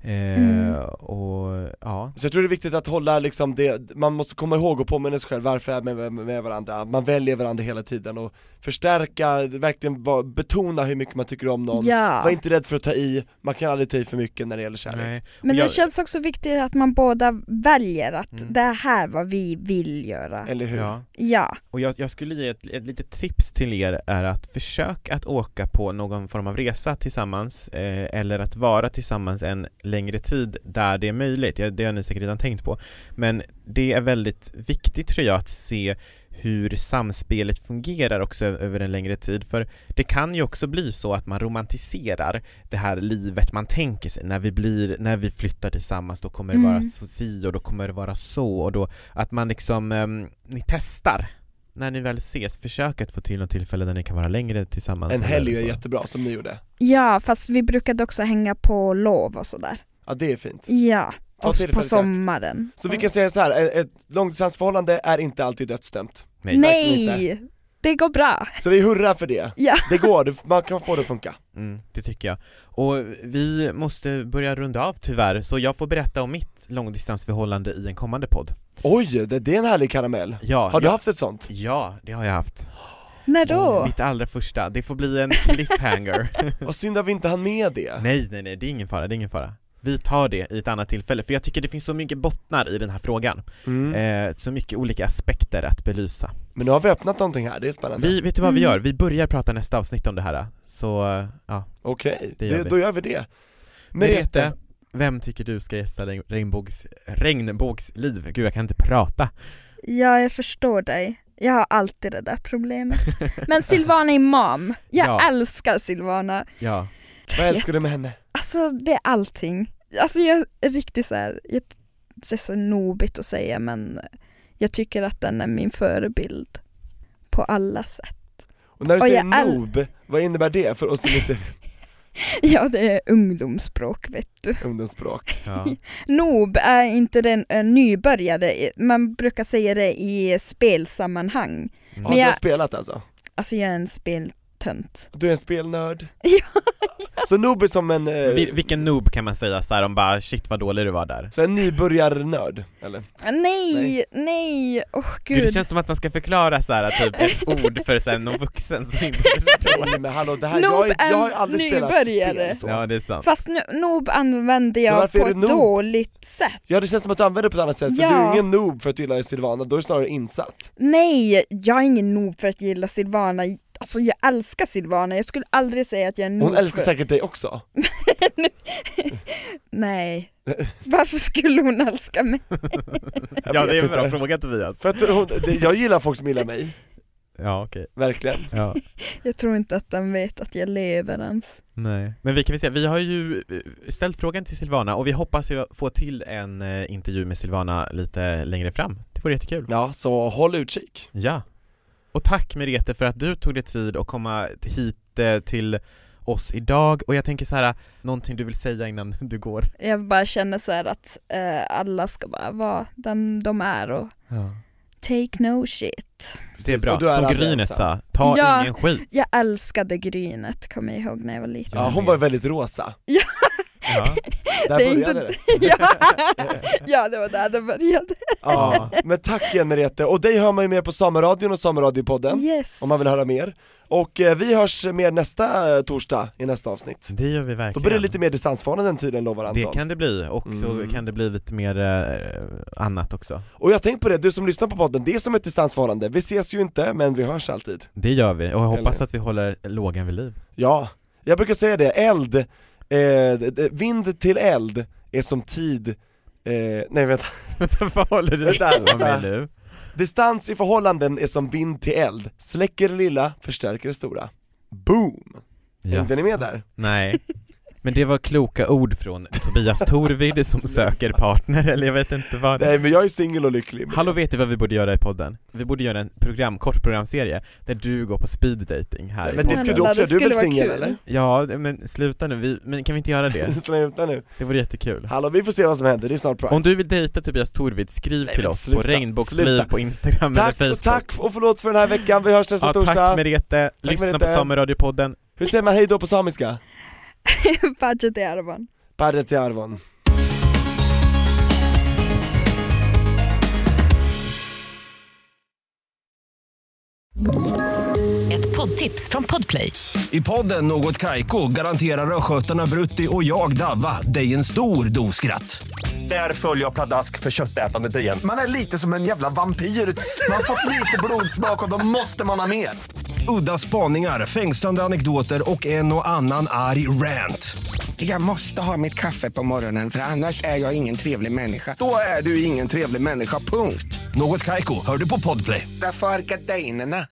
Speaker 7: Eh,
Speaker 5: Mm.
Speaker 7: Och ja,
Speaker 6: Så jag tror det är viktigt att hålla liksom det, man måste komma ihåg och påminna sig själv varför är man med, med varandra, man väljer varandra hela tiden och förstärka, verkligen va, betona hur mycket man tycker om någon
Speaker 5: Ja.
Speaker 6: Var inte rädd för att ta i, man kan aldrig ta i för mycket när det gäller kärlek
Speaker 7: nej.
Speaker 5: Men
Speaker 7: Och jag-
Speaker 5: det känns också viktigt att man båda väljer att
Speaker 7: Mm.
Speaker 5: det här är vad vi vill göra.
Speaker 6: Eller hur?
Speaker 7: ja.
Speaker 5: Ja.
Speaker 7: Och jag, jag skulle ge ett, ett litet tips till er är att försök att åka på någon form av resa tillsammans eh, eller att vara tillsammans en längre tid där det är möjligt. Ja, det har ni säkert redan tänkt på. Men det är väldigt viktigt tror jag att se hur samspelet fungerar också ö- över en längre tid för det kan ju också bli så att man romantiserar det här livet man tänker sig när vi blir, när vi flyttar tillsammans då kommer det vara
Speaker 5: Mm.
Speaker 7: så si och då kommer det vara så och då att man liksom, ehm, ni testar när ni väl ses, försök att få till något tillfälle där ni kan vara längre tillsammans
Speaker 6: En helg är
Speaker 7: eller så.
Speaker 6: jättebra, som ni gjorde
Speaker 5: ja, fast vi brukade också hänga på lov och sådär.
Speaker 6: Ja det är fint
Speaker 5: Ja,
Speaker 6: Ta
Speaker 5: och
Speaker 6: tillfället i
Speaker 5: på
Speaker 6: akt.
Speaker 5: sommaren.
Speaker 6: Så vi kan säga så här, ett ett långdistansförhållande är inte alltid dödsdömt
Speaker 7: Nej.
Speaker 5: Nej! Det går bra.
Speaker 6: Så vi hurrar för det,
Speaker 5: Ja.
Speaker 6: det går, det- man kan få det att funka
Speaker 7: Mm, det tycker jag. Och vi måste börja runda av tyvärr, så jag får berätta om mitt långdistansförhållande i en kommande podd.
Speaker 6: Oj, det, det är en härlig karamell!
Speaker 7: Ja,
Speaker 6: Har du
Speaker 7: jag,
Speaker 6: haft ett sånt?
Speaker 7: Ja, det har jag haft.
Speaker 5: När då?
Speaker 7: Mitt allra första. Det får bli en cliffhanger.
Speaker 6: Vad synd att vi inte hann med det
Speaker 7: nej, nej, nej, det är ingen fara, det är ingen fara. Vi tar det i ett annat tillfälle, för jag tycker det finns så mycket bottnar i den här frågan.
Speaker 6: mm.
Speaker 7: Eh, så mycket olika aspekter att belysa.
Speaker 6: Men nu har vi öppnat någonting här, det är spännande
Speaker 7: Vi, vet du vad vi
Speaker 5: Mm.
Speaker 7: gör? Vi börjar prata nästa avsnitt om det här. Så, eh, ja.
Speaker 6: Okej,
Speaker 7: Det gör
Speaker 6: det-
Speaker 7: vi.
Speaker 6: då gör vi det
Speaker 7: Merete, vem tycker du ska gästa Regn- regnbågs, regnbågsliv? Gud, jag kan inte prata.
Speaker 5: Ja, jag förstår dig. Jag har alltid det där problemet. Men Silvana Imam, jag
Speaker 7: Ja.
Speaker 5: älskar Silvana.
Speaker 7: Ja.
Speaker 6: Vad älskar du med henne?
Speaker 5: Alltså det är allting. Alltså jag är riktigt så här, jag, det är så nobigt att säga men jag tycker att den är min förebild på alla sätt.
Speaker 6: Och när du
Speaker 5: Oj,
Speaker 6: säger
Speaker 5: jag äl-
Speaker 6: noob, vad innebär det för oss som inte
Speaker 5: Ja, det är ungdomsspråk vet du.
Speaker 6: är ungdomsspråk?
Speaker 7: ja.
Speaker 5: Nob är inte den eh, nybörjare, i- man brukar säga det i spelsammanhang.
Speaker 7: Mm.
Speaker 6: Ja,
Speaker 5: Men
Speaker 6: du har
Speaker 5: jag-
Speaker 6: spelat alltså?
Speaker 5: Alltså jag är en speltönt.
Speaker 6: Du är en spelnörd?
Speaker 5: Ja,
Speaker 6: Så noob är som en, eh,
Speaker 7: Vil- vilken noob kan man säga så här om bara shit vad dålig du var där?
Speaker 6: så en nybörjarnörd, eller?
Speaker 5: Nej,
Speaker 6: Nej.
Speaker 5: nej, åh
Speaker 7: Gud.
Speaker 5: gud.
Speaker 7: Det känns som att man ska förklara så här, typ ett ord för sen någon vuxen som inte förstår.
Speaker 6: Nej men hallå, det här,
Speaker 5: Noob
Speaker 6: jag, är, jag har
Speaker 5: är
Speaker 6: aldrig spelat
Speaker 5: nybörjare.
Speaker 6: spel så.
Speaker 7: Ja, det är sant.
Speaker 5: Fast nu, noob använder
Speaker 6: Men
Speaker 5: jag
Speaker 6: varför är
Speaker 5: på
Speaker 6: det
Speaker 5: ett
Speaker 6: noob?
Speaker 5: dåligt sätt.
Speaker 6: Ja det känns som att du använder det på ett annat sätt, för
Speaker 5: Ja.
Speaker 6: du är ingen noob för att du gillar Silvana, då är du snarare insatt
Speaker 5: Nej, jag är ingen noob för att gilla Silvana. Alltså jag älskar Silvana, jag skulle aldrig säga att jag är en noob.
Speaker 6: Hon älskar
Speaker 5: för-
Speaker 6: säkert dig också
Speaker 5: Nej. Varför skulle hon älska mig?
Speaker 6: Jag
Speaker 7: Ja,
Speaker 6: vet
Speaker 7: det är en
Speaker 6: inte.
Speaker 7: bra fråga Tobias.
Speaker 6: För att hon, det- jag gillar folk som gillar mig,
Speaker 7: Ja, okej.
Speaker 6: verkligen
Speaker 7: Ja.
Speaker 5: Jag tror inte att den vet att jag lever ens.
Speaker 7: Nej. Men vi kan väl säga, vi har ju eh, ställt frågan till Silvana och vi hoppas ju få till en eh, intervju med Silvana lite längre fram. Det vore jättekul.
Speaker 6: Ja, så håll utkik
Speaker 7: Ja. Och tack Merete för att du tog dig tid att komma hit eh, till oss idag och jag tänker så här, någonting du vill säga innan du går?
Speaker 5: Jag bara känner så här att eh, alla ska bara vara den de är och take no shit.
Speaker 7: Det är bra,
Speaker 6: och du är
Speaker 7: som
Speaker 6: aldrig
Speaker 7: Grynet
Speaker 6: ensam.
Speaker 7: sa, ta
Speaker 5: Ja.
Speaker 7: ingen skit.
Speaker 5: Jag älskade Grynet, kommer jag ihåg när jag var liten.
Speaker 6: Ja, hon var ju väldigt rosa,
Speaker 7: Mm. Ja.
Speaker 6: där
Speaker 5: Det är inte-
Speaker 6: började det
Speaker 5: ja. ja, det var där det började.
Speaker 6: Ja, men tack igen Merete, och dig hör man ju mer på Sameradion och Sameradiopodden
Speaker 5: Yes.
Speaker 6: om man vill höra mer. Och eh, vi hörs mer nästa eh, torsdag i nästa avsnitt.
Speaker 7: Det gör vi
Speaker 6: Då
Speaker 7: verkligen.
Speaker 6: blir det lite mer distansförhållanden tydligen lovar Anton.
Speaker 7: Det kan det bli, och så
Speaker 6: Mm.
Speaker 7: kan det bli lite mer eh, annat också.
Speaker 6: Och jag tänkte på det, du som lyssnar på podden, det är som ett distansförhållande. Vi ses ju inte, men vi hörs alltid.
Speaker 7: Det gör vi, och jag hoppas
Speaker 6: Eller-
Speaker 7: att vi håller lågan vid liv.
Speaker 6: Ja, jag brukar säga det, eld, eh, d- d- vind till eld är som tid, eh, nej vänta,
Speaker 7: Vad håller du
Speaker 6: Vänta,
Speaker 7: på
Speaker 6: vänta.
Speaker 7: med nu?
Speaker 6: distans i förhållanden är som vind till eld, släcker det lilla, förstärker det stora. Boom! Hängde ni med där?
Speaker 7: Nej. Men det var kloka ord från Tobias Torvid som söker partner, eller jag vet inte vad.
Speaker 6: Nej men jag är singel och lycklig.
Speaker 7: Hallå vet du vad vi borde göra i podden? Vi borde göra en program, kort programserie där du går på speed dating här
Speaker 6: Nej,
Speaker 7: i
Speaker 6: men det
Speaker 7: podden.
Speaker 6: skulle du
Speaker 5: Snälla,
Speaker 6: också
Speaker 5: det
Speaker 6: göra, du är
Speaker 5: skulle vara
Speaker 6: väl singel
Speaker 5: kul.
Speaker 6: eller?
Speaker 7: Ja, men sluta nu, vi, men kan vi inte göra det?
Speaker 6: Sluta nu.
Speaker 7: Det vore jättekul.
Speaker 6: Hallå vi får se vad som händer, det är snart Pride.
Speaker 7: Om du vill dejta Tobias Torvid, skriv
Speaker 6: Nej,
Speaker 7: till
Speaker 6: men
Speaker 7: oss på
Speaker 6: sluta,
Speaker 7: regnbågsliv
Speaker 6: sluta.
Speaker 7: på Instagram eller
Speaker 6: Tack
Speaker 7: Facebook.
Speaker 6: och tack och förlåt för den här veckan, vi hörs nästa
Speaker 7: Ja,
Speaker 6: torsdag.
Speaker 7: tack Merete, lyssna på
Speaker 6: Merete.
Speaker 7: Sameradiopodden.
Speaker 6: Hur säger man hej då på samiska?
Speaker 5: Budget i armen.
Speaker 6: Padre till arvon.
Speaker 4: Ett poddtips från Podplay.
Speaker 8: I podden Något Kaiko garanterar östgötarna Brutti och jag, Davva, dig en stor dos skratt. Där följer jag pladask för köttätandet igen.
Speaker 9: Man är lite som en jävla vampyr. Man har fått lite blodsmak och då måste man ha mer.
Speaker 8: Udda spaningar, fängslande anekdoter och en och annan arg rant.
Speaker 9: Jag måste ha mitt kaffe på morgonen för annars är jag ingen trevlig människa. Då är du ingen trevlig människa, punkt.
Speaker 8: Något Kaiko, hör du på Podplay.
Speaker 9: Därför arkadeinerna.